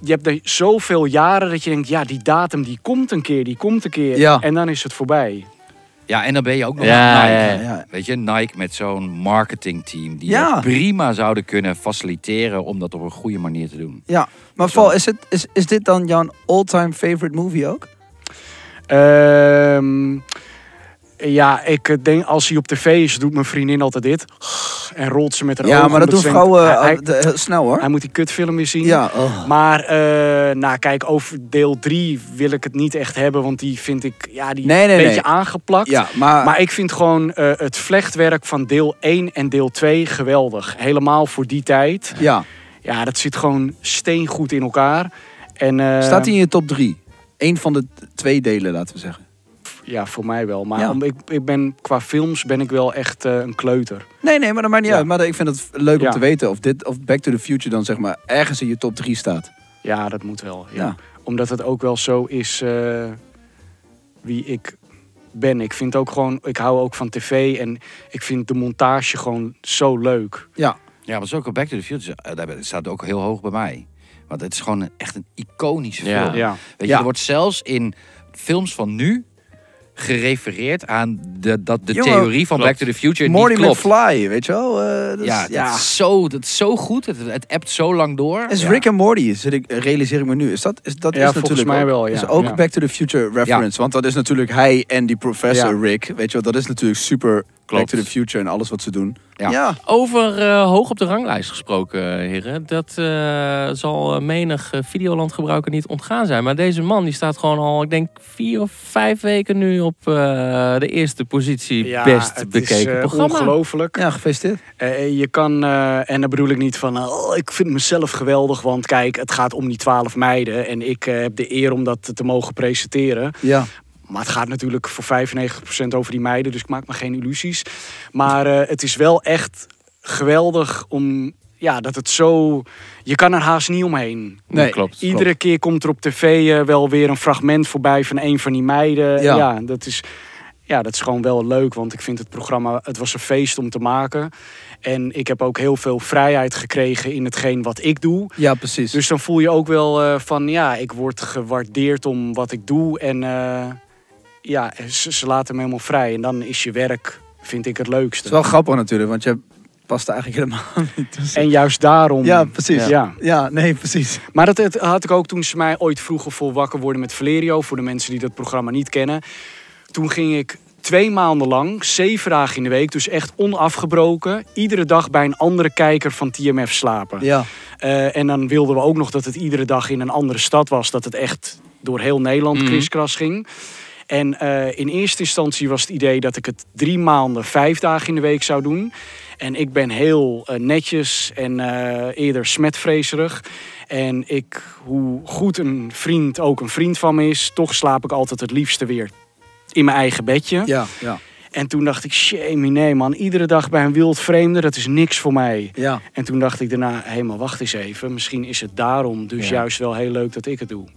[SPEAKER 5] Je hebt er zoveel jaren dat je denkt, ja, die datum die komt een keer, die komt een keer.
[SPEAKER 2] Ja.
[SPEAKER 5] En dan is het voorbij.
[SPEAKER 4] Ja, en dan ben je ook nog
[SPEAKER 3] Ja,
[SPEAKER 4] Nike.
[SPEAKER 3] ja,
[SPEAKER 2] ja.
[SPEAKER 4] Weet je, Nike met zo'n marketingteam die
[SPEAKER 2] Ja.
[SPEAKER 4] dat prima zouden kunnen faciliteren om dat op een goede manier te doen.
[SPEAKER 2] Ja, maar Val, is, het, is, is dit dan jouw all-time favorite movie ook?
[SPEAKER 5] Ehm, ja, ik denk als hij op tv is, doet mijn vriendin altijd dit. En rolt ze met haar
[SPEAKER 2] ja,
[SPEAKER 5] ogen,
[SPEAKER 2] maar dat
[SPEAKER 5] omdat
[SPEAKER 2] doen
[SPEAKER 5] ze denkt,
[SPEAKER 2] vrouwen
[SPEAKER 5] Hij,
[SPEAKER 2] eh,
[SPEAKER 5] hij-
[SPEAKER 2] de- heel snel hoor.
[SPEAKER 5] hij moet die kutfilm weer zien.
[SPEAKER 2] Ja, oh.
[SPEAKER 5] Maar, eh, nou kijk, over deel 3 wil ik het niet echt hebben. Want die vind ik, ja, die
[SPEAKER 2] Nee, nee,
[SPEAKER 5] een beetje
[SPEAKER 2] nee.
[SPEAKER 5] aangeplakt.
[SPEAKER 2] ja maar,
[SPEAKER 5] Maar ik vind gewoon eh, het vlechtwerk van deel 1 en deel 2 geweldig. Helemaal voor die tijd.
[SPEAKER 2] ja.
[SPEAKER 5] Ja, dat zit gewoon steengoed in elkaar. En, eh,
[SPEAKER 2] staat hij in je top drie? Eén van de t- twee delen, laten we zeggen.
[SPEAKER 5] Ja, voor mij wel. Maar
[SPEAKER 2] Ja.
[SPEAKER 5] om- ik, ik ben, qua films ben ik wel echt eh, een kleuter.
[SPEAKER 2] Nee, nee, maar dat maakt niet
[SPEAKER 5] Ja.
[SPEAKER 2] uit. Maar ik vind het leuk om
[SPEAKER 5] Ja.
[SPEAKER 2] te weten of, dit, of Back to the Future dan zeg maar ergens in je top 3 staat.
[SPEAKER 5] Ja, dat moet wel. Ja.
[SPEAKER 2] Ja.
[SPEAKER 5] Omdat het ook wel zo is eh, wie ik ben. Ik vind ook gewoon, ik hou ook van tv en ik vind de montage gewoon zo leuk.
[SPEAKER 2] Ja,
[SPEAKER 4] Ja, maar zo ook Back to the Future eh, daar staat ook heel hoog bij mij. Want het is gewoon een- echt een iconische
[SPEAKER 3] Ja.
[SPEAKER 4] film.
[SPEAKER 5] Ja,
[SPEAKER 4] Weet je,
[SPEAKER 2] Ja.
[SPEAKER 4] er wordt zelfs in films van nu gerefereerd aan de, dat de
[SPEAKER 2] Jongen,
[SPEAKER 4] theorie van
[SPEAKER 3] klopt.
[SPEAKER 4] Back to the Future
[SPEAKER 2] Morty
[SPEAKER 4] niet klopt.
[SPEAKER 2] McFly, weet je wel? Eh, dat is-
[SPEAKER 4] ja,
[SPEAKER 2] ja.
[SPEAKER 4] Dat, is zo, dat is zo goed. Het, het appt zo lang door.
[SPEAKER 2] Is
[SPEAKER 4] ja.
[SPEAKER 2] Rick en Morty, zit ik, realiseer ik me nu. Is dat, is, dat
[SPEAKER 5] Ja,
[SPEAKER 2] is
[SPEAKER 5] volgens
[SPEAKER 2] natuurlijk
[SPEAKER 5] mij
[SPEAKER 2] ook,
[SPEAKER 5] wel, ja.
[SPEAKER 2] is ook
[SPEAKER 5] Ja.
[SPEAKER 2] Back to the Future reference. Want dat is natuurlijk hij en die professor
[SPEAKER 5] Ja.
[SPEAKER 2] Rick. Weet je wel, dat is natuurlijk super
[SPEAKER 4] Klopt.
[SPEAKER 2] Back to the Future en alles wat ze doen.
[SPEAKER 4] Ja.
[SPEAKER 3] Over eh, hoog op de ranglijst gesproken, eh, heren. Dat eh, zal eh, menig eh, Videoland-gebruiker niet ontgaan zijn. Maar deze man die staat gewoon al, ik denk, vier of vijf weken nu op eh, de eerste positie. best
[SPEAKER 5] het
[SPEAKER 3] bekeken
[SPEAKER 5] is, eh,
[SPEAKER 3] programma.
[SPEAKER 5] Ongelooflijk.
[SPEAKER 2] ja gefeliciteerd.
[SPEAKER 5] Eh, je kan, eh, en dan bedoel ik niet van, oh, ik vind mezelf geweldig, want kijk, het gaat om die twaalf meiden en ik eh, heb de eer om dat te mogen presenteren.
[SPEAKER 2] Ja.
[SPEAKER 5] Maar het gaat natuurlijk voor 95% over die meiden, dus ik maak me geen illusies. Maar eh, het is wel echt geweldig om, ja, dat het zo, je kan er haast niet omheen.
[SPEAKER 2] Nee,
[SPEAKER 3] klopt.
[SPEAKER 5] Iedere keer komt er op tv eh, wel weer een fragment voorbij van een van die meiden.
[SPEAKER 2] Ja.
[SPEAKER 5] Ja. dat is, ja, dat is gewoon wel leuk. Want ik vind het programma, het was een feest om te maken. En ik heb ook heel veel vrijheid gekregen in hetgeen wat ik doe.
[SPEAKER 2] ja, precies.
[SPEAKER 5] Dus dan voel je ook wel eh, van, ja, ik word gewaardeerd om wat ik doe. En eh, ja, ze, ze laten me helemaal vrij. En dan is je werk, vind ik, het
[SPEAKER 2] het
[SPEAKER 5] leukste.
[SPEAKER 2] is wel grappig natuurlijk, want je past er eigenlijk helemaal niet tussen.
[SPEAKER 5] En juist daarom...
[SPEAKER 2] Ja, precies.
[SPEAKER 5] Ja.
[SPEAKER 2] Ja, nee, precies.
[SPEAKER 5] Maar dat het- had ik ook toen ze mij ooit vroegen voor Wakker Worden met Valerio. Voor de mensen die dat programma niet kennen. Toen ging ik twee maanden lang, zeven dagen in de week, dus echt onafgebroken. Iedere dag bij een andere kijker van TMF slapen.
[SPEAKER 2] Ja.
[SPEAKER 5] Eh, en dan wilden we ook nog dat het iedere dag in een andere stad was. Dat het echt door heel Nederland
[SPEAKER 3] Mhm.
[SPEAKER 5] kriskras ging. En eh, in eerste instantie was het idee dat ik het drie maanden, vijf dagen in de week zou doen. En ik ben heel eh, netjes en eh, eerder smetvreeserig. En ik, hoe goed een vriend ook een vriend van me is, toch slaap ik altijd het liefste weer in mijn eigen bedje.
[SPEAKER 2] Ja, ja,
[SPEAKER 5] En toen dacht ik, shame, nee man, iedere dag bij een wild vreemde, dat is niks voor mij.
[SPEAKER 2] ja.
[SPEAKER 5] En toen dacht ik daarna, hé maar wacht eens even, misschien is het daarom dus
[SPEAKER 4] Ja.
[SPEAKER 5] juist wel heel leuk dat ik het doe.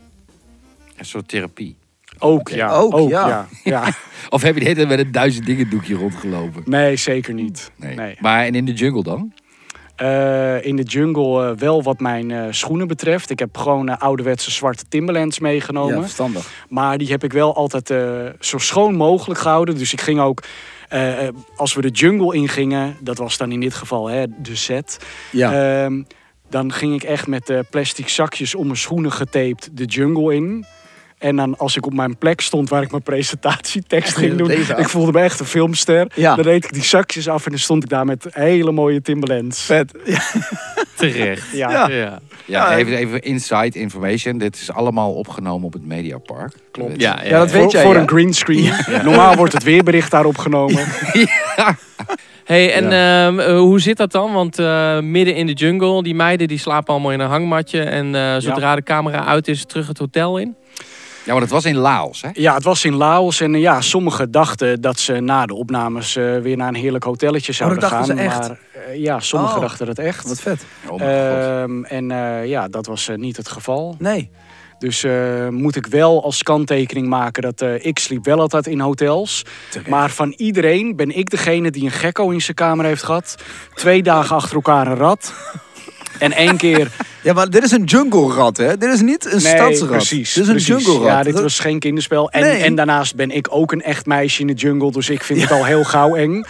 [SPEAKER 4] Een soort therapie.
[SPEAKER 5] Ook ja,
[SPEAKER 2] Ook,
[SPEAKER 5] ook,
[SPEAKER 2] ja.
[SPEAKER 5] ja. ja.
[SPEAKER 4] Of heb je de hele tijd met een duizend dingen doekje rondgelopen?
[SPEAKER 5] Nee, zeker niet.
[SPEAKER 4] Nee.
[SPEAKER 5] Nee.
[SPEAKER 4] Maar en in de jungle dan?
[SPEAKER 5] Eh, in de jungle eh, wel wat mijn eh, schoenen betreft. Ik heb gewoon eh, ouderwetse zwarte Timberlands meegenomen.
[SPEAKER 2] Ja, verstandig.
[SPEAKER 5] Maar die heb ik wel altijd eh, zo schoon mogelijk gehouden. Dus ik ging ook, eh, eh, als we de jungle ingingen, dat was dan in dit geval hè, de set.
[SPEAKER 2] Ja.
[SPEAKER 5] Ehm, dan ging ik echt met eh, plastic zakjes om mijn schoenen getaped de jungle in. En dan als ik op mijn plek stond waar ik mijn presentatietekst ging doen,
[SPEAKER 2] deze af.
[SPEAKER 5] ik voelde me echt een filmster.
[SPEAKER 2] Ja.
[SPEAKER 5] Dan deed ik die zakjes af en dan stond ik daar met hele mooie Timberlands.
[SPEAKER 2] Vet. Ja.
[SPEAKER 3] Terecht.
[SPEAKER 5] Ja.
[SPEAKER 2] Ja.
[SPEAKER 3] Ja.
[SPEAKER 4] Ja,
[SPEAKER 2] Ja,
[SPEAKER 4] even, even inside information. Dit is allemaal opgenomen op het Mediapark.
[SPEAKER 5] Klopt.
[SPEAKER 4] Ja.
[SPEAKER 2] Ja, dat weet
[SPEAKER 5] voor,
[SPEAKER 2] jij,
[SPEAKER 5] Voor
[SPEAKER 2] ja.
[SPEAKER 5] een greenscreen. Normaal wordt het weerbericht daarop genomen.
[SPEAKER 3] Hey, en ehm, eh, hoe zit dat dan? Want eh, midden in de jungle, die meiden die slapen allemaal in een hangmatje. En eh, zodra de camera uit is, terug het hotel in.
[SPEAKER 4] ja, maar dat was in Laos, hè?
[SPEAKER 5] Ja, het was in Laos en eh, ja, sommigen dachten dat ze na de opnames eh, weer naar een heerlijk hotelletje zouden
[SPEAKER 2] Oh, dachten
[SPEAKER 5] gaan.
[SPEAKER 2] ze echt?
[SPEAKER 5] Maar eh, ja, sommigen
[SPEAKER 2] Oh.
[SPEAKER 5] dachten dat echt.
[SPEAKER 2] Wat vet.
[SPEAKER 4] Oh mijn god.
[SPEAKER 5] Ehm, en eh, ja, dat was eh, niet het geval.
[SPEAKER 2] Nee.
[SPEAKER 5] Dus eh, moet ik wel als kanttekening maken dat eh, ik sliep wel altijd in hotels. Maar van iedereen ben ik degene die een gekko in zijn kamer heeft gehad. Twee dagen achter elkaar een rat. En één keer...
[SPEAKER 2] Ja, maar dit is een jungle rat, hè? Dit is niet een
[SPEAKER 5] Nee,
[SPEAKER 2] stadsrat.
[SPEAKER 5] precies.
[SPEAKER 2] Dit is een
[SPEAKER 5] precies.
[SPEAKER 2] jungle rat.
[SPEAKER 5] Ja, dit
[SPEAKER 2] Dat-
[SPEAKER 5] was geen kinderspel. En,
[SPEAKER 2] Nee.
[SPEAKER 5] en daarnaast ben ik ook een echt meisje in de jungle. Dus ik vind het al heel gauw eng.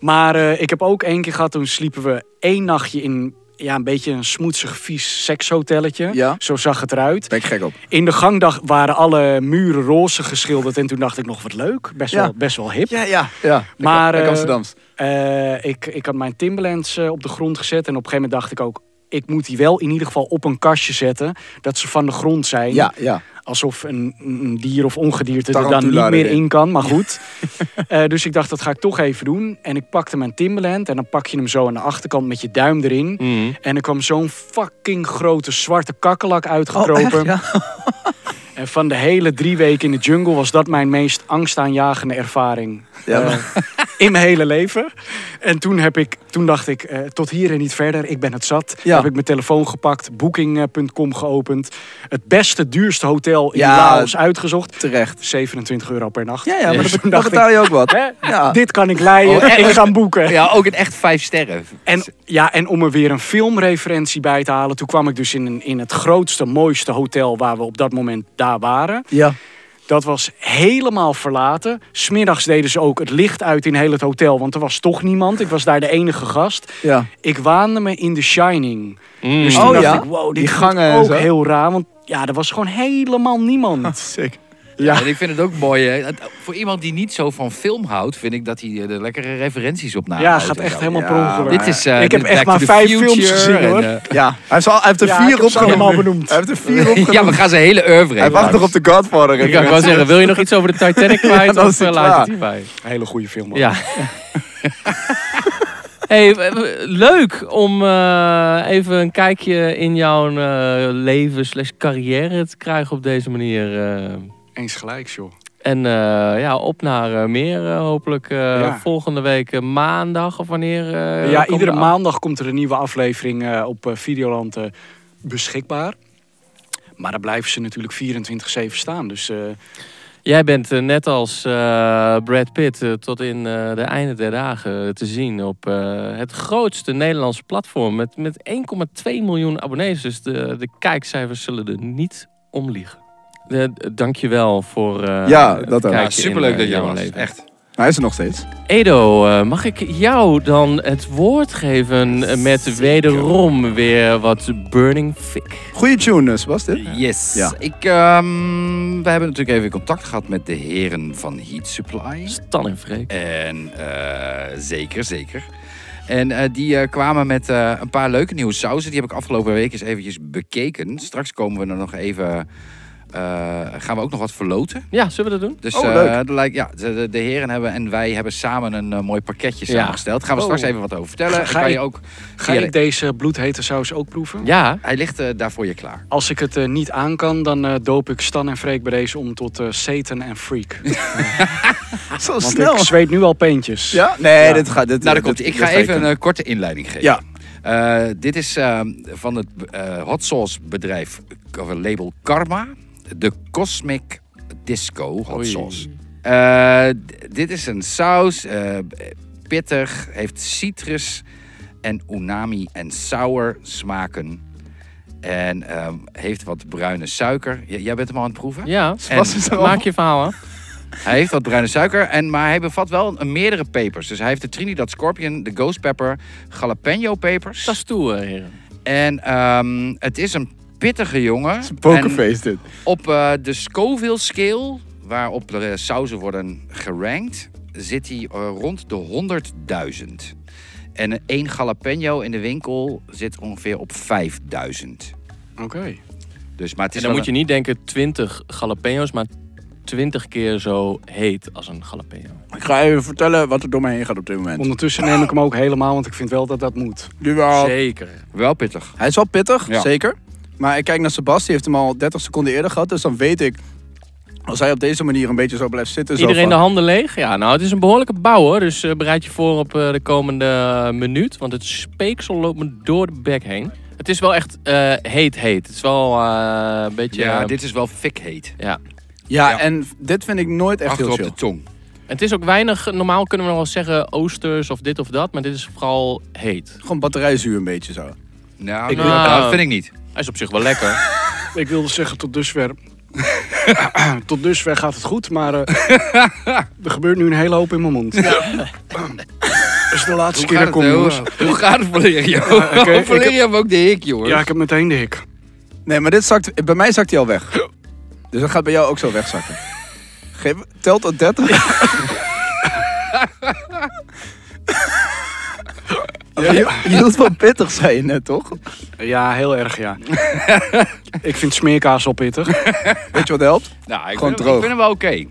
[SPEAKER 5] Maar eh, ik heb ook één keer gehad, toen sliepen we één nachtje in... Ja, een beetje een smoetsig, vies sekshotelletje.
[SPEAKER 2] Ja.
[SPEAKER 5] Zo zag het eruit.
[SPEAKER 2] Ben ik gek op.
[SPEAKER 5] In de gangdag waren alle muren roze geschilderd. En toen dacht ik nog, wat leuk. Best,
[SPEAKER 2] Ja.
[SPEAKER 5] wel, best wel hip.
[SPEAKER 2] Ja, ja. ja.
[SPEAKER 5] Maar,
[SPEAKER 2] Lekker
[SPEAKER 5] eh,
[SPEAKER 2] Amsterdams.
[SPEAKER 5] Eh, ik, ik had mijn Timberlands eh, op de grond gezet. En op een gegeven moment dacht ik ook... Ik moet die wel in ieder geval op een kastje zetten. Dat ze van de grond zijn.
[SPEAKER 2] Ja, ja.
[SPEAKER 5] Alsof een, een dier of ongedierte er dan
[SPEAKER 2] Tarantula
[SPEAKER 5] niet meer
[SPEAKER 2] erin.
[SPEAKER 5] in kan. Maar goed. Eh, dus ik dacht, dat ga ik toch even doen. En ik pakte mijn Timberland. En dan pak je hem zo aan de achterkant met je duim erin.
[SPEAKER 2] Mm.
[SPEAKER 5] En er kwam zo'n fucking grote zwarte kakkelak
[SPEAKER 2] Oh, echt?
[SPEAKER 5] uitgekropen.
[SPEAKER 2] Ja.
[SPEAKER 5] En van de hele drie weken in de jungle was dat mijn meest angstaanjagende ervaring.
[SPEAKER 2] Ja,
[SPEAKER 5] eh, in mijn hele leven. En toen, heb ik, toen dacht ik, eh, tot hier en niet verder, ik ben het zat.
[SPEAKER 2] Ja.
[SPEAKER 5] Heb ik mijn telefoon gepakt, booking.com geopend. Het beste, duurste hotel in
[SPEAKER 2] Ja.
[SPEAKER 5] Laos uitgezocht.
[SPEAKER 2] Terecht.
[SPEAKER 5] 27 euro per nacht.
[SPEAKER 2] Ja, ja, maar
[SPEAKER 5] Dus
[SPEAKER 2] dat,
[SPEAKER 5] toen
[SPEAKER 2] dat
[SPEAKER 5] dacht
[SPEAKER 2] betaal je ook wat.
[SPEAKER 5] ik, hè,
[SPEAKER 2] Ja.
[SPEAKER 5] dit kan ik leiden,
[SPEAKER 4] Oh, echt?
[SPEAKER 5] ik ga hem boeken.
[SPEAKER 4] Ja, ook een echt vijf sterren.
[SPEAKER 5] En, ja, en om er weer een filmreferentie bij te halen... toen kwam ik dus in, een, in het grootste, mooiste hotel waar we op dat moment daar waren...
[SPEAKER 2] Ja.
[SPEAKER 5] Dat was helemaal verlaten. Smiddags deden ze ook het licht uit in heel het hotel, want er was toch niemand. Ik was daar de enige gast.
[SPEAKER 2] Ja.
[SPEAKER 5] Ik waande me in The Shining.
[SPEAKER 3] Mm.
[SPEAKER 5] Dus toen
[SPEAKER 2] Oh
[SPEAKER 5] dacht
[SPEAKER 2] ja?
[SPEAKER 5] ik, wow,
[SPEAKER 2] Die
[SPEAKER 5] dit
[SPEAKER 2] gangen
[SPEAKER 5] gangen
[SPEAKER 2] en
[SPEAKER 5] ook
[SPEAKER 2] zo.
[SPEAKER 5] heel raar. Want ja, er was gewoon helemaal niemand.
[SPEAKER 2] Sick.
[SPEAKER 5] Ja.
[SPEAKER 4] En ik vind het ook mooi. hè. Het- Voor iemand die niet zo van film houdt, vind ik dat hij eh, er lekkere referenties op nahoudt.
[SPEAKER 5] Ja, gaat
[SPEAKER 4] en
[SPEAKER 5] echt
[SPEAKER 4] zo.
[SPEAKER 5] helemaal
[SPEAKER 2] Ja,
[SPEAKER 5] per ongeluk.
[SPEAKER 4] Dit is, eh,
[SPEAKER 5] Ik heb
[SPEAKER 4] dit
[SPEAKER 5] echt
[SPEAKER 4] Back
[SPEAKER 5] maar
[SPEAKER 4] to the
[SPEAKER 5] vijf films
[SPEAKER 4] Future
[SPEAKER 5] gezien,
[SPEAKER 4] en,
[SPEAKER 5] hoor.
[SPEAKER 4] eh,
[SPEAKER 2] Ja, hij heeft, al, hij heeft er
[SPEAKER 5] Ja, ik
[SPEAKER 2] vier
[SPEAKER 5] heb ze
[SPEAKER 2] opgenomen.
[SPEAKER 5] allemaal benoemd.
[SPEAKER 2] Hij heeft er vier opgenomen.
[SPEAKER 4] ja, we gaan zijn hele oeuvre
[SPEAKER 2] Hij
[SPEAKER 4] even
[SPEAKER 2] wacht nog op
[SPEAKER 4] langs.
[SPEAKER 2] de Godfather.
[SPEAKER 3] Ik kan wel zeggen, wil je nog iets over de Titanic kwijt?
[SPEAKER 2] dan is
[SPEAKER 3] of
[SPEAKER 2] hij
[SPEAKER 3] eh, laat je
[SPEAKER 2] klaar.
[SPEAKER 3] het hierbij?
[SPEAKER 5] Hele goede film. man.
[SPEAKER 3] Ja. hey, w- w- leuk om eh, even een kijkje in jouw eh, leven slash carrière te krijgen op deze manier. eh.
[SPEAKER 5] Eens gelijk, joh.
[SPEAKER 3] en eh, ja, op naar eh, meer eh, hopelijk eh,
[SPEAKER 5] Ja.
[SPEAKER 3] volgende week eh, maandag of wanneer? eh,
[SPEAKER 5] ja,
[SPEAKER 3] komt
[SPEAKER 5] iedere
[SPEAKER 3] de-
[SPEAKER 5] maandag komt er een nieuwe aflevering eh, op eh, Videoland eh, beschikbaar. Maar daar blijven ze natuurlijk 24-7 staan. Dus eh,
[SPEAKER 3] Jij bent eh, net als eh, Brad Pitt eh, tot in eh, de einde der dagen te zien op eh, het grootste Nederlandse platform met, met 1,2 miljoen abonnees. Dus de, de kijkcijfers zullen er niet om liegen. De, dankjewel voor eh
[SPEAKER 2] Ja, dat ook.
[SPEAKER 3] kijkje
[SPEAKER 4] Ja, superleuk
[SPEAKER 3] in,
[SPEAKER 4] dat
[SPEAKER 3] eh,
[SPEAKER 4] je
[SPEAKER 3] jouw
[SPEAKER 4] was.
[SPEAKER 3] leven.
[SPEAKER 4] Echt.
[SPEAKER 2] Hij is er nog steeds.
[SPEAKER 3] Edo, eh, mag ik jou dan het woord geven met wederom weer wat Burning Fic?
[SPEAKER 2] Goeie tune, eh, Sebas, dit.
[SPEAKER 4] Yes.
[SPEAKER 2] Ja.
[SPEAKER 4] Ik, ehm, we hebben natuurlijk even contact gehad met de heren van Heat Supply.
[SPEAKER 3] Stan en Freek.
[SPEAKER 4] En eh, zeker, zeker. En eh, die eh, kwamen met eh, een paar leuke nieuwe sauzen. Die heb ik afgelopen week eens eventjes bekeken. Straks komen we er nog even... eh, gaan we ook nog wat verloten.
[SPEAKER 3] Ja, zullen we dat doen?
[SPEAKER 4] Dus
[SPEAKER 2] Oh,
[SPEAKER 4] eh,
[SPEAKER 2] leuk.
[SPEAKER 4] de, lijk- ja, de, de- de heren hebben en wij hebben samen een eh, mooi pakketje
[SPEAKER 3] Ja.
[SPEAKER 4] samengesteld. Gaan we straks
[SPEAKER 5] Oh.
[SPEAKER 4] even wat over vertellen.
[SPEAKER 5] Ga-
[SPEAKER 4] En
[SPEAKER 5] ga
[SPEAKER 4] kan
[SPEAKER 5] ik-
[SPEAKER 4] je ook,
[SPEAKER 5] ga
[SPEAKER 4] Ja,
[SPEAKER 5] ik deze bloedhete saus ook proeven?
[SPEAKER 3] Ja.
[SPEAKER 4] hij ligt eh, daar voor je klaar.
[SPEAKER 5] Als ik het eh, niet aan kan, dan eh, doop ik Stan en Freek bij deze om tot eh, Satan en Freak.
[SPEAKER 2] Zo
[SPEAKER 5] Want
[SPEAKER 2] snel.
[SPEAKER 5] ik zweet nu al peentjes.
[SPEAKER 2] Ja? Nee,
[SPEAKER 5] Ja.
[SPEAKER 2] dit gaat... Dit,
[SPEAKER 4] Nou, daar
[SPEAKER 2] dit-
[SPEAKER 4] komt. Ik
[SPEAKER 2] dit
[SPEAKER 4] ga
[SPEAKER 2] je
[SPEAKER 4] even een
[SPEAKER 2] kunnen.
[SPEAKER 4] eh, korte inleiding geven.
[SPEAKER 2] Ja.
[SPEAKER 4] Eh, dit is ehm, van het eh, hot sauce bedrijf eh, of het label Karma, de Cosmic Disco hot
[SPEAKER 3] Oei.
[SPEAKER 4] sauce. Eh, d- dit is een saus, eh, pittig, heeft citrus en umami en sour smaken. En ehm, heeft wat bruine suiker. J- jij bent hem al aan het proeven?
[SPEAKER 3] Ja,
[SPEAKER 2] Sebas is er al.
[SPEAKER 3] maak je verhaal af.
[SPEAKER 4] Hij heeft wat bruine suiker, en, maar hij bevat wel een, meerdere pepers. Dus hij heeft de Trinidad Scorpion, de Ghost Pepper, jalapeno pepers.
[SPEAKER 3] Dat is toe, eh, heren.
[SPEAKER 4] En ehm, het is een pittige jongen.
[SPEAKER 2] Het is een Pokerface, dit.
[SPEAKER 4] En op eh, de Scoville scale, waarop de eh, sauzen worden gerankt, zit hij eh, rond de 100.000. En eh, één jalapeno in de winkel zit ongeveer op 5.000.
[SPEAKER 5] Oké.
[SPEAKER 4] Dus, maar het
[SPEAKER 3] En dan
[SPEAKER 4] is wel
[SPEAKER 3] moet je niet denken 20 jalapeno's, maar 20 keer zo heet als een jalapeno.
[SPEAKER 2] Ik ga even vertellen wat er door mij heen gaat op dit moment.
[SPEAKER 5] Ondertussen neem ik hem ook helemaal, want ik vind wel dat dat moet.
[SPEAKER 3] Oh,
[SPEAKER 2] Jawel.
[SPEAKER 3] Zeker.
[SPEAKER 4] een- wel pittig.
[SPEAKER 2] Hij is wel pittig,
[SPEAKER 4] Ja.
[SPEAKER 2] zeker. Maar ik kijk naar Sebas, die heeft hem al 30 seconden eerder gehad. Dus dan weet ik, als hij op deze manier een beetje zo blijft zitten... zo
[SPEAKER 3] Iedereen de
[SPEAKER 2] van-
[SPEAKER 3] handen leeg? Ja, nou, het is een behoorlijke bouw hoor. Dus eh, bereid je voor op eh, de komende eh, minuut. Want het speeksel loopt me door de bek heen. Het is wel echt eh, heet, heet. Het is wel eh, een beetje.
[SPEAKER 4] Ja,
[SPEAKER 3] eh,
[SPEAKER 4] dit is wel fikheet.
[SPEAKER 3] ja.
[SPEAKER 2] Ja,
[SPEAKER 4] Ja.
[SPEAKER 2] en dit vind ik nooit echt
[SPEAKER 4] Achter op
[SPEAKER 2] heel
[SPEAKER 4] de
[SPEAKER 2] chill.
[SPEAKER 4] tong.
[SPEAKER 3] Het is ook weinig. Normaal kunnen we nog wel zeggen oosters of dit of dat. Maar dit is vooral heet.
[SPEAKER 2] Gewoon batterijzuur een beetje zo.
[SPEAKER 4] Nou,
[SPEAKER 5] Ik-
[SPEAKER 4] nou,
[SPEAKER 3] Nou.
[SPEAKER 4] dat vind ik niet.
[SPEAKER 3] Hij is op zich wel lekker.
[SPEAKER 5] Ik wilde zeggen, tot dusver... tot dusver gaat het goed, maar eh, er gebeurt nu een hele hoop in mijn mond. Dus de laatste keer dat ik kom, jongens.
[SPEAKER 4] hoe, hoe gaat het Valerio?
[SPEAKER 5] oké, ik heb-
[SPEAKER 4] Valerio heeft ook de hik, jongens.
[SPEAKER 5] Ja, ik heb meteen de hik.
[SPEAKER 2] Nee, maar dit zakt, bij mij zakt hij al weg. Dus dat gaat bij jou ook zo wegzakken. Geef, telt tot 30. Ja, je, je hield van pittig, zei je net, toch?
[SPEAKER 5] Ja, heel erg, ja. ik vind smeerkaas al pittig.
[SPEAKER 2] Weet je wat helpt?
[SPEAKER 4] Nou, ik
[SPEAKER 2] Gewoon
[SPEAKER 4] vind hem-
[SPEAKER 2] droog.
[SPEAKER 4] Ik vind hem wel oké. Ik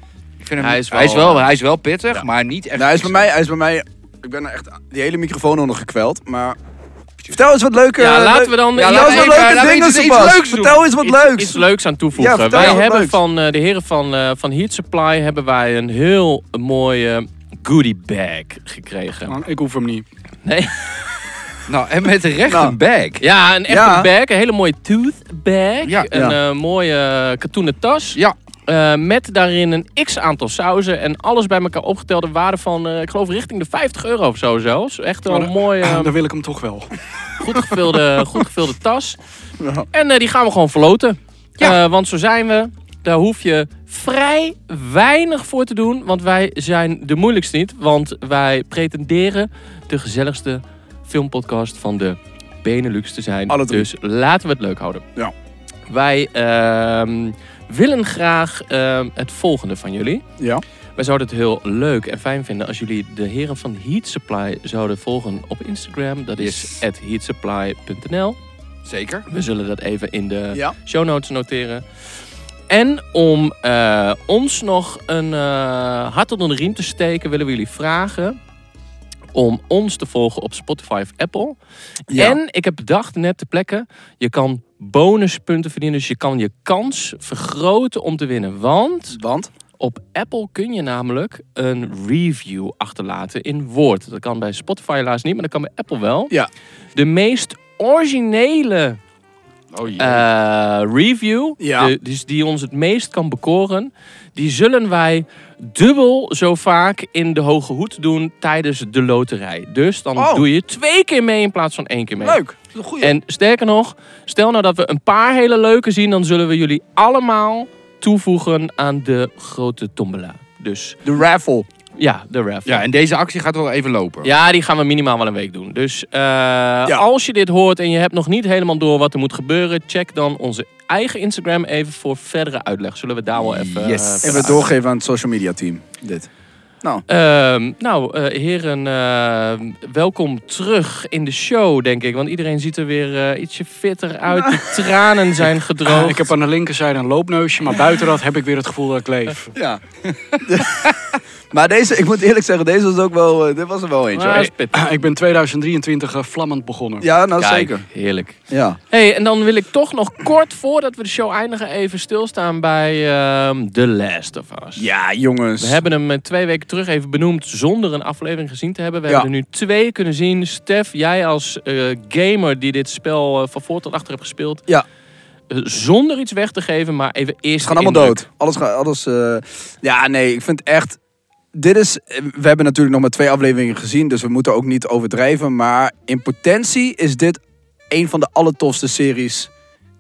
[SPEAKER 4] vind hem-
[SPEAKER 3] Hij is wel-
[SPEAKER 4] hij is wel pittig, maar niet echt.
[SPEAKER 2] Nou, hij is bij mij, hij is bij mij... Ik ben er echt die hele microfoon onder gekweld, maar... Vertel eens wat leuke...
[SPEAKER 3] Ja, laten
[SPEAKER 2] leuk-
[SPEAKER 3] we dan-
[SPEAKER 2] Ja,
[SPEAKER 3] ja,
[SPEAKER 2] laten
[SPEAKER 3] laten
[SPEAKER 2] we wat
[SPEAKER 3] we-
[SPEAKER 2] leuke
[SPEAKER 4] laten we
[SPEAKER 2] dingen,
[SPEAKER 4] iets- iets
[SPEAKER 2] Sebas.
[SPEAKER 4] leuks doen.
[SPEAKER 2] Vertel eens wat
[SPEAKER 3] iets,
[SPEAKER 2] leuks.
[SPEAKER 3] Iets leuks aan toevoegen.
[SPEAKER 2] Ja, vertel
[SPEAKER 3] wij
[SPEAKER 2] eens wat
[SPEAKER 3] hebben
[SPEAKER 2] leuks.
[SPEAKER 3] van eh, de heren van, eh, van Heat Supply hebben wij een heel mooie goodie bag gekregen.
[SPEAKER 5] Man, ik hoef hem niet.
[SPEAKER 3] Nee.
[SPEAKER 4] Nou, en met recht
[SPEAKER 2] Nou.
[SPEAKER 4] een bag.
[SPEAKER 3] Ja, een echte
[SPEAKER 2] Ja.
[SPEAKER 3] bag. Een hele mooie tooth bag.
[SPEAKER 4] Ja.
[SPEAKER 3] Een
[SPEAKER 2] Ja.
[SPEAKER 3] eh, mooie eh, katoenen tas.
[SPEAKER 4] Ja,
[SPEAKER 3] eh, met daarin een x-aantal sauzen. En alles bij elkaar opgeteld. Een waarde van, eh, ik geloof, richting de 50 euro of zo zelfs. Echt wel een
[SPEAKER 5] Maar-
[SPEAKER 3] mooie, eh,
[SPEAKER 5] Ah, Dan wil ik hem toch wel.
[SPEAKER 3] goed, gevulde, goed gevulde tas.
[SPEAKER 2] Ja.
[SPEAKER 3] En eh, die gaan we gewoon verloten.
[SPEAKER 4] Ja.
[SPEAKER 3] Eh, want zo zijn we. Daar hoef je vrij weinig voor te doen, want wij zijn de moeilijkste niet. Want wij pretenderen de gezelligste filmpodcast van de Benelux te zijn.
[SPEAKER 2] Alle drie.
[SPEAKER 3] Dus laten we het leuk houden.
[SPEAKER 2] Ja.
[SPEAKER 3] Wij ehm, willen graag ehm, het volgende van jullie.
[SPEAKER 2] Ja.
[SPEAKER 3] Wij zouden het heel leuk en fijn vinden als jullie de heren van Heat Supply zouden volgen op Instagram. Dat is
[SPEAKER 4] Yes.
[SPEAKER 3] at heatsupply.nl.
[SPEAKER 4] Zeker.
[SPEAKER 3] We zullen dat even in de
[SPEAKER 2] Ja.
[SPEAKER 3] show notes noteren. En om eh, ons nog een eh hart onder de riem te steken, willen we jullie vragen om ons te volgen op Spotify of Apple.
[SPEAKER 2] Ja.
[SPEAKER 3] En ik heb bedacht net te plekken, je kan bonuspunten verdienen. Dus je kan je kans vergroten om te winnen. Want
[SPEAKER 2] Want?
[SPEAKER 3] op Apple kun je namelijk een review achterlaten in woord. Dat kan bij Spotify helaas niet, maar dat kan bij Apple wel.
[SPEAKER 2] Ja.
[SPEAKER 3] De meest originele
[SPEAKER 4] Oh jee.
[SPEAKER 3] eh, review,
[SPEAKER 2] Ja.
[SPEAKER 3] de- dus die ons het meest kan bekoren, die zullen wij dubbel zo vaak in de hoge hoed doen tijdens de loterij. Dus dan
[SPEAKER 2] Oh.
[SPEAKER 3] doe je twee keer mee in plaats van één keer mee.
[SPEAKER 2] Leuk. Dat is een goeie.
[SPEAKER 3] En sterker nog, stel nou dat we een paar hele leuke zien, dan zullen we jullie allemaal toevoegen aan de grote tombola. Dus
[SPEAKER 2] de raffle.
[SPEAKER 3] ja, de raffle.
[SPEAKER 4] ja, en deze actie gaat wel even lopen.
[SPEAKER 3] Ja, die gaan we minimaal wel een week doen. Dus eh, als je dit hoort en je hebt nog niet helemaal door wat er moet gebeuren, check dan onze eigen Instagram even voor verdere uitleg. Zullen we daar wel even. eh,
[SPEAKER 4] Yes.
[SPEAKER 3] verder
[SPEAKER 2] Even doorgeven aan het social media team. Dit. Nou,
[SPEAKER 3] Ehm, nou, eh, heren, eh, welkom terug in de show, denk ik. Want iedereen ziet er weer eh, ietsje fitter uit. De tranen zijn gedroogd.
[SPEAKER 5] ik heb aan de linkerzijde een loopneusje, maar buiten dat heb ik weer het gevoel dat ik leef.
[SPEAKER 2] ja. maar deze, ik moet eerlijk zeggen, deze was ook wel, eh, dit was er wel eentje.
[SPEAKER 3] Maar
[SPEAKER 2] hoor.
[SPEAKER 3] dat is pittig.
[SPEAKER 5] Ah, Ik ben 2023 eh, vlammend begonnen.
[SPEAKER 2] Ja, nou
[SPEAKER 3] Kijk,
[SPEAKER 2] zeker.
[SPEAKER 3] heerlijk.
[SPEAKER 2] Ja.
[SPEAKER 3] hey, en dan wil ik toch nog kort, voordat we de show eindigen, even stilstaan bij ehm The Last of Us.
[SPEAKER 2] Ja, jongens.
[SPEAKER 3] We hebben hem eh, twee weken terug even benoemd zonder een aflevering gezien te hebben. We
[SPEAKER 2] Ja.
[SPEAKER 3] hebben er nu twee kunnen zien. Stef, jij als eh, gamer die dit spel eh, van voor tot achter hebt gespeeld.
[SPEAKER 2] Ja.
[SPEAKER 3] eh, zonder iets weg te geven, maar even eerst.
[SPEAKER 2] Ze gaan allemaal dood. Alles gaat, alles. eh, ja, nee, ik vind echt. Dit is. eh, We hebben natuurlijk nog maar twee afleveringen gezien, dus we moeten ook niet overdrijven. Maar in potentie is dit een van de allertofste series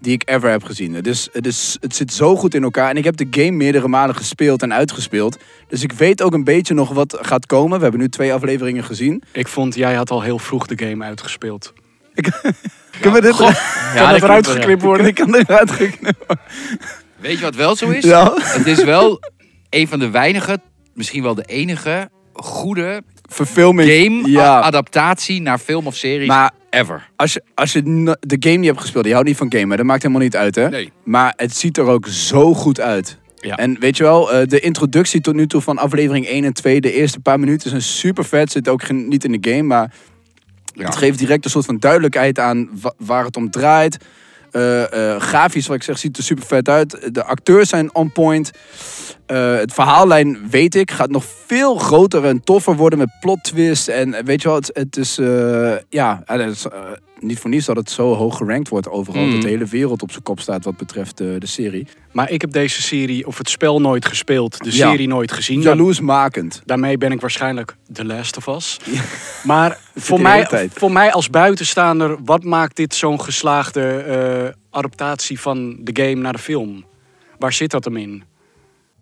[SPEAKER 2] die ik ever heb gezien. Het, is, het, is, het zit zo goed in elkaar. En ik heb de game meerdere malen gespeeld en uitgespeeld. Dus ik weet ook een beetje nog wat gaat komen. We hebben nu twee afleveringen gezien.
[SPEAKER 5] Ik vond, jij had al heel vroeg de game uitgespeeld.
[SPEAKER 2] Kunnen we dit
[SPEAKER 3] Goh,
[SPEAKER 5] kan dat
[SPEAKER 3] dat
[SPEAKER 5] eruit
[SPEAKER 3] klopt, ja.
[SPEAKER 5] geknipt worden?
[SPEAKER 2] Ik kan eruit geknipt.
[SPEAKER 4] Weet je wat wel zo is?
[SPEAKER 2] Ja.
[SPEAKER 4] Het is wel een van de weinige, misschien wel de enige goede
[SPEAKER 2] Verfilming. Ja.
[SPEAKER 4] game-adaptatie naar film of serie
[SPEAKER 2] Maar
[SPEAKER 4] ever.
[SPEAKER 2] Als je, als je n- de game niet hebt gespeeld, je houdt niet van gamen, dat maakt helemaal niet uit, hè?
[SPEAKER 4] Nee.
[SPEAKER 2] Maar het ziet er ook zo goed uit.
[SPEAKER 3] Ja.
[SPEAKER 2] En weet je wel, eh, de introductie tot nu toe van aflevering 1 en 2, de eerste paar minuten zijn super vet. Zit ook geen- niet in de game, maar
[SPEAKER 4] Ja.
[SPEAKER 2] het geeft direct een soort van duidelijkheid aan wa- waar het om draait. Eh, eh, grafisch, wat ik zeg, ziet er super vet uit. De acteurs zijn on point. Eh, het verhaallijn, weet ik, gaat nog veel groter en toffer worden met plot twist. En eh, weet je wel, het, het is, eh, ja, en het is, eh, niet voor niets dat het zo hoog gerankt wordt overal.
[SPEAKER 4] Hmm.
[SPEAKER 3] Mm.
[SPEAKER 2] Dat de hele wereld op zijn kop staat wat betreft eh, de serie.
[SPEAKER 5] Maar ik heb deze serie, of het spel nooit gespeeld, de
[SPEAKER 2] Ja.
[SPEAKER 5] serie nooit gezien.
[SPEAKER 2] Jaloersmakend.
[SPEAKER 5] Daarmee ben ik waarschijnlijk The Last of Us. Maar voor
[SPEAKER 2] de hele
[SPEAKER 5] mij,
[SPEAKER 2] tijd.
[SPEAKER 5] voor mij als buitenstaander, wat maakt dit zo'n geslaagde eh, adaptatie van de game naar de film? Waar zit dat hem in?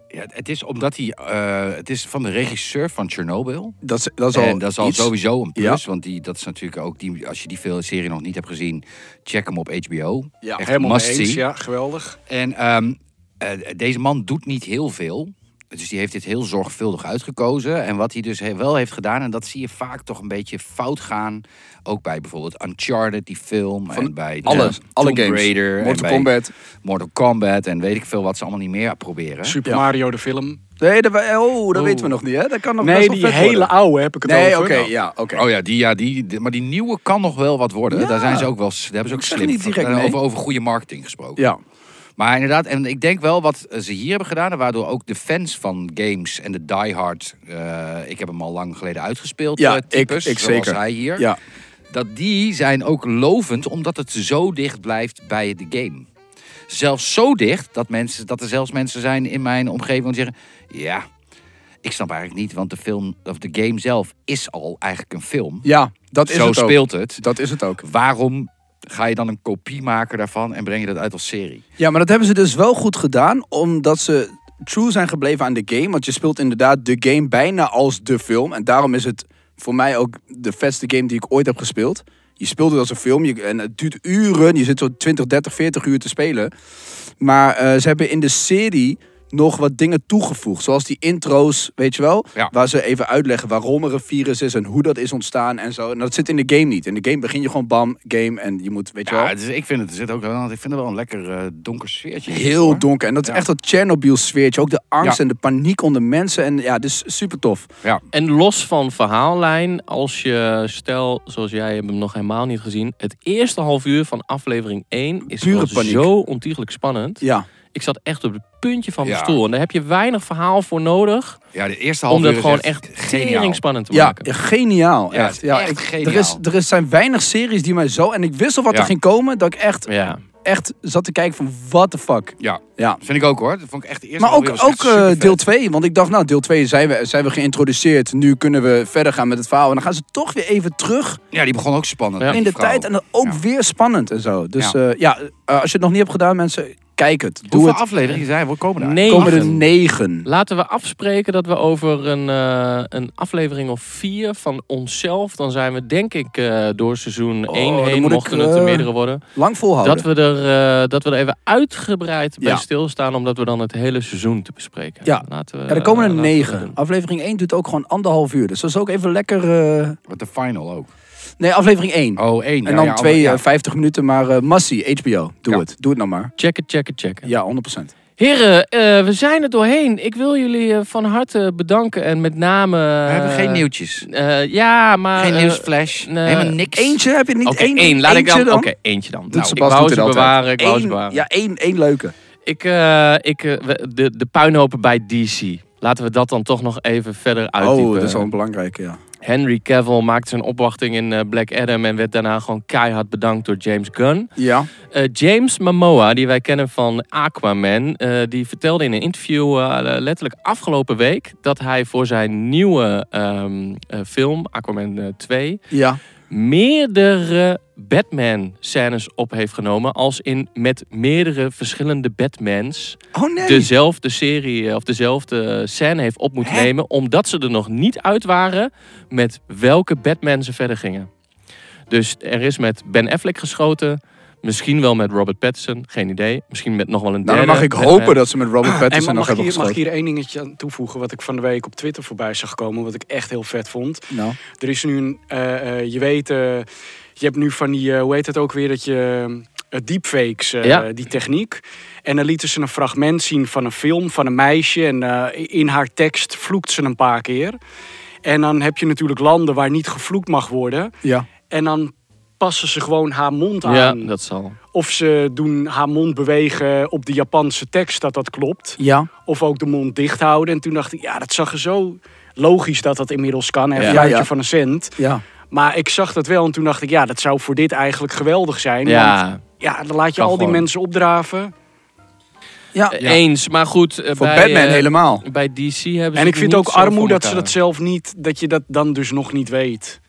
[SPEAKER 4] Ja, het is omdat hij, eh, het is van de regisseur van Chernobyl.
[SPEAKER 2] Dat is, dat is al
[SPEAKER 4] En dat is al
[SPEAKER 2] iets.
[SPEAKER 4] sowieso een plus,
[SPEAKER 2] Ja.
[SPEAKER 4] want die, dat is natuurlijk ook die, als je die veel serie nog niet hebt gezien, check hem op HBO.
[SPEAKER 2] Ja,
[SPEAKER 4] Echt
[SPEAKER 5] Helemaal
[SPEAKER 4] must
[SPEAKER 5] mee eens,
[SPEAKER 4] see.
[SPEAKER 5] ja, geweldig.
[SPEAKER 4] En ehm, eh, deze man doet niet heel veel. Dus die heeft dit heel zorgvuldig uitgekozen. En wat hij dus he- wel heeft gedaan, en dat zie je vaak toch een beetje fout gaan. Ook bij bijvoorbeeld Uncharted, die film. en bij
[SPEAKER 2] alle-
[SPEAKER 4] Tomb
[SPEAKER 2] alle
[SPEAKER 4] Tomb
[SPEAKER 2] games.
[SPEAKER 4] Raider, en
[SPEAKER 2] Mortal
[SPEAKER 4] bij
[SPEAKER 2] Kombat.
[SPEAKER 4] Mortal Kombat en weet ik veel wat ze allemaal niet meer proberen.
[SPEAKER 5] Super
[SPEAKER 2] Ja.
[SPEAKER 5] Mario de film.
[SPEAKER 2] Nee, dat, we- oh, dat
[SPEAKER 3] Oh.
[SPEAKER 2] weten we nog niet, hè? Dat kan nog
[SPEAKER 5] Nee,
[SPEAKER 2] best wel
[SPEAKER 5] die
[SPEAKER 2] vet
[SPEAKER 5] hele
[SPEAKER 2] worden.
[SPEAKER 5] oude heb ik het
[SPEAKER 2] Nee,
[SPEAKER 5] over. nou.
[SPEAKER 2] oké, ja, oké.
[SPEAKER 4] Oh ja, die, ja die, die- maar die nieuwe kan nog wel wat worden.
[SPEAKER 2] Ja.
[SPEAKER 4] Daar zijn ze ook wel, s- daar hebben ze ook
[SPEAKER 2] Ik zeg
[SPEAKER 4] slim
[SPEAKER 2] niet
[SPEAKER 4] van-
[SPEAKER 2] direct nee.
[SPEAKER 4] over, over goede marketing gesproken.
[SPEAKER 2] Ja,
[SPEAKER 4] Maar inderdaad, en ik denk wel wat eh, ze hier hebben gedaan, en waardoor ook de fans van games en de diehard, eh ik heb hem al lang geleden uitgespeeld,
[SPEAKER 2] ja
[SPEAKER 4] eh,
[SPEAKER 2] ik,
[SPEAKER 4] types,
[SPEAKER 2] ik
[SPEAKER 4] zoals
[SPEAKER 2] zeker.
[SPEAKER 4] hij hier,
[SPEAKER 2] Ja.
[SPEAKER 4] dat die zijn ook lovend omdat het zo dicht blijft bij de game. Zelfs zo dicht dat, mensen, dat er zelfs mensen zijn in mijn omgeving die zeggen, ja, ik snap eigenlijk niet, want de film of de game zelf is al eigenlijk een film.
[SPEAKER 2] ja, dat is
[SPEAKER 4] zo
[SPEAKER 2] het ook.
[SPEAKER 4] speelt het.
[SPEAKER 2] Dat is het ook.
[SPEAKER 4] Waarom Ga je dan een kopie maken daarvan en breng je dat uit als serie?
[SPEAKER 2] Ja, maar dat hebben ze dus wel goed gedaan, omdat ze true zijn gebleven aan de game. Want je speelt inderdaad de game bijna als de film. En daarom is het voor mij ook de vetste game die ik ooit heb gespeeld. Je speelt het als een film je, en het duurt uren. Je zit zo 20, 30, 40 uur te spelen. Maar eh, ze hebben in de serie nog wat dingen toegevoegd. Zoals die intro's, weet je wel?
[SPEAKER 4] Ja.
[SPEAKER 2] Waar ze even uitleggen waarom er een virus is en hoe dat is ontstaan en zo. En dat zit in de game niet. In de game begin je gewoon bam, game en je moet, weet je
[SPEAKER 4] Ja,
[SPEAKER 2] wel?
[SPEAKER 4] het is, ik vind het, er zit ook wel, ik vind het wel een lekker eh, donker sfeertje. in,
[SPEAKER 2] Heel
[SPEAKER 4] hoor.
[SPEAKER 2] donker. En dat is
[SPEAKER 4] Ja.
[SPEAKER 2] echt dat Chernobyl-sfeertje. Ook de angst
[SPEAKER 4] Ja.
[SPEAKER 2] en de paniek onder mensen. En ja, dus super tof.
[SPEAKER 4] Ja.
[SPEAKER 3] En los van verhaallijn, als je, stel, zoals jij hebt hem nog helemaal niet gezien, het eerste half uur van aflevering 1 is
[SPEAKER 2] Pure
[SPEAKER 3] wel
[SPEAKER 2] paniek.
[SPEAKER 3] zo ontiegelijk spannend.
[SPEAKER 2] Ja.
[SPEAKER 3] Ik zat echt op het puntje van mijn
[SPEAKER 4] Ja.
[SPEAKER 3] stoel. En daar heb je weinig verhaal voor nodig
[SPEAKER 4] ja, de eerste half
[SPEAKER 3] om
[SPEAKER 4] uur
[SPEAKER 3] dat
[SPEAKER 4] is
[SPEAKER 3] gewoon echt
[SPEAKER 4] geniaal.
[SPEAKER 3] tering spannend te
[SPEAKER 2] Ja,
[SPEAKER 3] maken.
[SPEAKER 2] geniaal.
[SPEAKER 4] Ja,
[SPEAKER 2] Echt. Ja,
[SPEAKER 4] echt
[SPEAKER 2] ik-
[SPEAKER 4] geniaal.
[SPEAKER 2] Er, is, er is- zijn weinig series die mij zo... En ik wist al wat
[SPEAKER 4] Ja.
[SPEAKER 2] er ging komen. Dat ik echt,
[SPEAKER 3] Ja.
[SPEAKER 2] echt zat te kijken van, what the fuck.
[SPEAKER 4] Ja,
[SPEAKER 2] Ja.
[SPEAKER 4] vind ik ook hoor. Dat vond ik echt de eerste
[SPEAKER 2] Maar
[SPEAKER 4] half
[SPEAKER 2] ook,
[SPEAKER 4] uur was
[SPEAKER 2] ook
[SPEAKER 4] echt supervet.
[SPEAKER 2] eh, deel 2. Want ik dacht, nou, deel 2 zijn we, zijn we geïntroduceerd. Nu kunnen we verder gaan met het verhaal. En dan gaan ze toch weer even terug
[SPEAKER 4] Ja, die begon ook spannend.
[SPEAKER 3] Ja.
[SPEAKER 4] met
[SPEAKER 2] in de
[SPEAKER 4] die vrouw.
[SPEAKER 2] tijd. En dan ook
[SPEAKER 4] Ja.
[SPEAKER 2] weer spannend en zo. Dus
[SPEAKER 4] Ja.
[SPEAKER 2] ja, ja eh, als je het nog niet hebt gedaan, mensen, kijk het. Doe
[SPEAKER 4] Hoeveel
[SPEAKER 2] het.
[SPEAKER 4] afleveringen zijn er? We komen daar.
[SPEAKER 3] Nee.
[SPEAKER 2] Komen er
[SPEAKER 3] Negen.
[SPEAKER 2] negen.
[SPEAKER 3] Laten we afspreken dat we over een, eh, een aflevering of vier van onszelf, dan zijn we denk ik eh, door seizoen
[SPEAKER 2] Oh,
[SPEAKER 3] 1
[SPEAKER 2] dan
[SPEAKER 3] heen,
[SPEAKER 2] moet ik,
[SPEAKER 3] mochten het er
[SPEAKER 2] eh,
[SPEAKER 3] meerdere worden,
[SPEAKER 2] Lang volhouden.
[SPEAKER 3] dat we, er, eh, dat we er even uitgebreid bij
[SPEAKER 2] Ja.
[SPEAKER 3] stilstaan, omdat we dan het hele seizoen te bespreken
[SPEAKER 2] Ja.
[SPEAKER 3] hebben. Laten we,
[SPEAKER 2] Ja, er komen er
[SPEAKER 3] eh, laten we dat
[SPEAKER 2] negen.
[SPEAKER 3] doen.
[SPEAKER 2] Aflevering 1 doet ook gewoon anderhalf uur. Dus dat is ook even lekker... eh,
[SPEAKER 4] Met de final ook.
[SPEAKER 2] Nee, aflevering 1.
[SPEAKER 4] Oh, één.
[SPEAKER 2] en
[SPEAKER 4] Ja,
[SPEAKER 2] dan
[SPEAKER 4] ja,
[SPEAKER 2] twee,
[SPEAKER 4] ja.
[SPEAKER 2] eh, 50 minuten. Maar eh Massie, HBO, doe
[SPEAKER 4] Ja.
[SPEAKER 2] het. Doe het nou maar.
[SPEAKER 3] Checken, checken, checken.
[SPEAKER 2] Ja, 100%.
[SPEAKER 3] Heren, eh, we zijn er doorheen. Ik wil jullie eh, van harte bedanken en met name...
[SPEAKER 4] We hebben
[SPEAKER 2] eh,
[SPEAKER 4] geen nieuwtjes.
[SPEAKER 3] ja, maar...
[SPEAKER 4] Geen
[SPEAKER 3] eh,
[SPEAKER 4] nieuwsflash.
[SPEAKER 3] nee.
[SPEAKER 4] Helemaal niks.
[SPEAKER 2] Eentje heb je niet?
[SPEAKER 3] Oké,
[SPEAKER 2] Eén-
[SPEAKER 3] één. Laat ik dan...
[SPEAKER 2] eentje
[SPEAKER 3] Oké, eentje dan. Nou, ik
[SPEAKER 2] Sebas
[SPEAKER 3] wou
[SPEAKER 2] doet
[SPEAKER 3] ze
[SPEAKER 2] het altijd.
[SPEAKER 3] bewaren, ik wou ze
[SPEAKER 2] Eén-
[SPEAKER 3] bewaren.
[SPEAKER 2] Ja, één, één leuke.
[SPEAKER 3] Ik, eh, ik, eh, we- de, de puinhopen bij DC. Laten we dat dan toch nog even verder uitdiepen.
[SPEAKER 2] Oh, dat is wel een belangrijke, ja.
[SPEAKER 3] Henry Cavill maakte zijn opwachting in eh, Black Adam... en werd daarna gewoon keihard bedankt door James Gunn.
[SPEAKER 2] Ja.
[SPEAKER 3] Eh, James Momoa, die wij kennen van Aquaman... eh, die vertelde in een interview eh, letterlijk afgelopen week... dat hij voor zijn nieuwe ehm, eh, film, Aquaman eh, 2...
[SPEAKER 2] Ja.
[SPEAKER 3] meerdere Batman-scènes op heeft genomen... als in met meerdere verschillende Batmans
[SPEAKER 2] Oh nee.
[SPEAKER 3] dezelfde serie eh, of dezelfde scène heeft op moeten
[SPEAKER 4] Hè?
[SPEAKER 3] nemen. Omdat ze er nog niet uit waren met welke Batman ze verder gingen. Dus er is met Ben Affleck geschoten. Misschien wel met Robert Pattinson, geen idee. Misschien met nog wel een
[SPEAKER 2] nou,
[SPEAKER 3] derde.
[SPEAKER 2] dan mag ik
[SPEAKER 3] Batman.
[SPEAKER 2] hopen dat ze met
[SPEAKER 3] Ah,
[SPEAKER 2] Robert
[SPEAKER 5] En
[SPEAKER 2] Pattinson
[SPEAKER 5] mag,
[SPEAKER 2] nog
[SPEAKER 5] mag, ik
[SPEAKER 2] hebben
[SPEAKER 5] hier, mag ik
[SPEAKER 2] geschoten.
[SPEAKER 5] hier één dingetje aan toevoegen wat ik van de week op Twitter voorbij zag komen, wat ik echt heel vet vond.
[SPEAKER 2] Nou.
[SPEAKER 5] Er is nu een, eh, eh, je weet, eh, je hebt nu van die, eh, hoe heet het ook weer, dat je eh, deepfakes, eh,
[SPEAKER 3] Ja.
[SPEAKER 5] die techniek. En dan lieten ze een fragment zien van een film van een meisje en eh, in haar tekst vloekt ze een paar keer. En dan heb je natuurlijk landen waar niet gevloekt mag worden.
[SPEAKER 2] Ja.
[SPEAKER 5] En dan passen ze gewoon haar mond aan.
[SPEAKER 3] Ja, dat zal.
[SPEAKER 5] Of ze doen haar mond bewegen op de Japanse tekst dat dat klopt.
[SPEAKER 2] Ja.
[SPEAKER 5] Of ook de mond dicht houden. En toen dacht ik, ja, dat zag er zo logisch dat dat inmiddels kan. Hè?
[SPEAKER 3] Ja.
[SPEAKER 5] Een
[SPEAKER 2] Ja,
[SPEAKER 5] fluitje
[SPEAKER 2] ja.
[SPEAKER 5] van een cent.
[SPEAKER 2] Ja.
[SPEAKER 5] Maar ik zag dat wel en toen dacht ik, ja, dat zou voor dit eigenlijk geweldig zijn. Want,
[SPEAKER 3] Ja,
[SPEAKER 5] ja dan laat je
[SPEAKER 3] Kan
[SPEAKER 5] al die
[SPEAKER 3] gewoon.
[SPEAKER 5] mensen opdraven.
[SPEAKER 2] Ja.
[SPEAKER 3] eh, eens. Maar goed, eh,
[SPEAKER 2] Voor
[SPEAKER 3] bij,
[SPEAKER 2] Batman
[SPEAKER 3] eh,
[SPEAKER 2] helemaal.
[SPEAKER 3] Bij DC hebben ze
[SPEAKER 5] en
[SPEAKER 3] het
[SPEAKER 5] ik vind
[SPEAKER 3] Dus niet
[SPEAKER 5] ook
[SPEAKER 3] zo voor
[SPEAKER 5] armoe dat ze
[SPEAKER 3] elkaar.
[SPEAKER 5] dat zelf niet, dat je dat dan dus nog niet weet.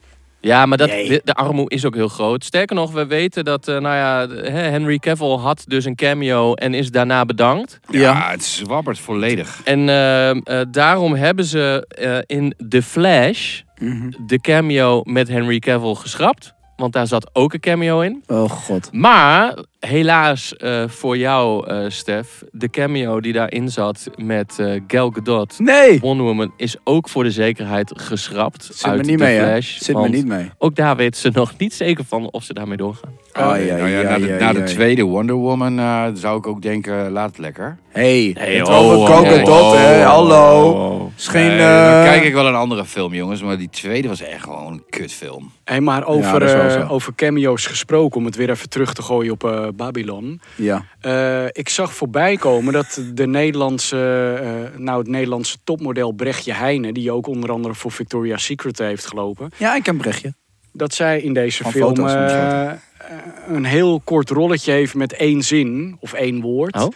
[SPEAKER 3] Ja, maar dat,
[SPEAKER 5] Nee.
[SPEAKER 3] de, de armoe is ook heel groot. Sterker nog, we weten dat eh, nou ja, hè, Henry Cavill had dus een cameo en is daarna bedankt.
[SPEAKER 4] Ja,
[SPEAKER 2] Ja.
[SPEAKER 4] het zwabbert volledig.
[SPEAKER 3] En ehm, eh, daarom hebben ze eh, in The Flash
[SPEAKER 2] Mhm.
[SPEAKER 3] de cameo met Henry Cavill geschrapt. Want daar zat ook een cameo in.
[SPEAKER 2] Oh god.
[SPEAKER 3] Maar helaas eh, voor jou, eh, Stef, de cameo die daarin zat met eh, Gal Gadot,
[SPEAKER 2] Nee.
[SPEAKER 3] Wonder Woman, is ook voor de zekerheid geschrapt
[SPEAKER 2] Zit
[SPEAKER 3] uit
[SPEAKER 2] me niet
[SPEAKER 3] The
[SPEAKER 2] mee, hè.
[SPEAKER 3] Flash.
[SPEAKER 2] Zit me
[SPEAKER 3] want
[SPEAKER 2] niet mee.
[SPEAKER 3] Ook daar weten ze nog niet zeker van of ze daarmee doorgaan.
[SPEAKER 2] Ah, Oh, ja,
[SPEAKER 4] Nou ja,
[SPEAKER 2] ja,
[SPEAKER 4] na de,
[SPEAKER 2] ja,
[SPEAKER 4] na de
[SPEAKER 2] ja.
[SPEAKER 4] tweede Wonder Woman eh, zou ik ook denken, laat het lekker.
[SPEAKER 2] Hey,
[SPEAKER 3] Hey,
[SPEAKER 2] het
[SPEAKER 3] oh,
[SPEAKER 2] over Gal
[SPEAKER 3] oh,
[SPEAKER 2] Gadot,
[SPEAKER 3] oh,
[SPEAKER 2] hè?
[SPEAKER 3] oh,
[SPEAKER 2] Hallo.
[SPEAKER 3] oh.
[SPEAKER 2] Het is geen...
[SPEAKER 4] Nee,
[SPEAKER 2] eh,
[SPEAKER 4] dan kijk ik wel een andere film, jongens. Maar die tweede was echt gewoon een kutfilm.
[SPEAKER 5] Hey, maar
[SPEAKER 2] dat
[SPEAKER 5] over,
[SPEAKER 2] is wel
[SPEAKER 5] eh,
[SPEAKER 2] zo.
[SPEAKER 5] over cameo's gesproken, om het weer even terug te gooien op eh, Babylon.
[SPEAKER 2] Ja.
[SPEAKER 5] Eh, ik zag voorbij komen dat de Nederlandse, eh, nou, het Nederlandse topmodel Brechtje Heijnen... die ook onder andere voor Victoria's Secret heeft gelopen...
[SPEAKER 2] ja, ik ken Brechtje.
[SPEAKER 5] dat zij in deze
[SPEAKER 2] Van
[SPEAKER 5] film
[SPEAKER 2] foto's,
[SPEAKER 5] eh,
[SPEAKER 2] moet je zeggen.
[SPEAKER 5] eh, een heel kort rolletje heeft met één zin of één woord.
[SPEAKER 3] Oh.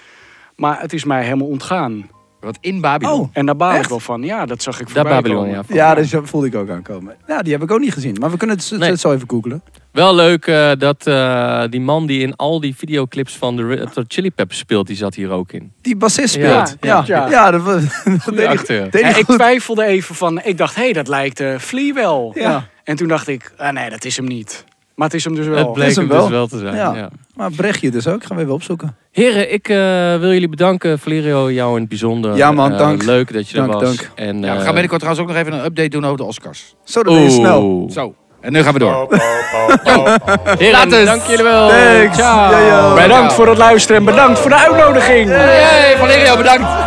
[SPEAKER 5] Maar het is mij helemaal ontgaan.
[SPEAKER 4] Wat in Babylon.
[SPEAKER 2] Oh.
[SPEAKER 5] En daar baal ik
[SPEAKER 2] Echt?
[SPEAKER 5] wel van. Ja, dat zag ik
[SPEAKER 3] Daar
[SPEAKER 5] voorbij
[SPEAKER 3] Babylon,
[SPEAKER 5] komen.
[SPEAKER 3] ja. van.
[SPEAKER 2] Ja, dus dat voelde ik ook aankomen. Ja, die heb ik ook niet gezien. Maar we kunnen het, z-
[SPEAKER 3] Nee.
[SPEAKER 2] het zo even googlen.
[SPEAKER 3] Wel leuk eh, dat eh, die man die in al die videoclips van de Red Hot Chili Peppers speelt, die zat hier ook in.
[SPEAKER 2] Die bassist
[SPEAKER 3] Ja,
[SPEAKER 2] speelt. Ja,
[SPEAKER 5] ja,
[SPEAKER 2] ja,
[SPEAKER 5] ja.
[SPEAKER 2] dat, was- dat
[SPEAKER 3] Goeie
[SPEAKER 2] deed ik.
[SPEAKER 3] acteur.
[SPEAKER 2] Deed
[SPEAKER 5] Ja,
[SPEAKER 2] hij
[SPEAKER 5] ik
[SPEAKER 2] goed.
[SPEAKER 5] twijfelde even van... Ik dacht, hé, hey, dat lijkt eh Flea wel.
[SPEAKER 2] Ja.
[SPEAKER 5] En toen dacht ik, ah, nee, dat is hem niet. Maar het is hem dus wel.
[SPEAKER 3] Het bleek
[SPEAKER 2] is hem
[SPEAKER 3] hem dus
[SPEAKER 2] wel.
[SPEAKER 3] wel te zijn.
[SPEAKER 2] Ja.
[SPEAKER 3] Ja.
[SPEAKER 2] Maar Brechtje dus ook. Gaan we even opzoeken.
[SPEAKER 3] Heren, ik eh, wil jullie bedanken. Valerio, jou in het bijzonder.
[SPEAKER 2] Ja, man,
[SPEAKER 3] Eh,
[SPEAKER 2] dank.
[SPEAKER 3] leuk dat je
[SPEAKER 2] Dank,
[SPEAKER 3] er was.
[SPEAKER 2] dank.
[SPEAKER 3] En,
[SPEAKER 4] Ja, we
[SPEAKER 3] eh,
[SPEAKER 4] gaan binnenkort trouwens ook nog even een update doen over de Oscars.
[SPEAKER 2] Zo, dat ben je
[SPEAKER 3] oeh.
[SPEAKER 2] snel.
[SPEAKER 4] Zo. En nu gaan we door.
[SPEAKER 3] Heren, dank jullie wel.
[SPEAKER 2] Thanks. Ja, ja.
[SPEAKER 5] Bedankt voor het luisteren en bedankt voor de uitnodiging.
[SPEAKER 4] Hey, Valerio, bedankt.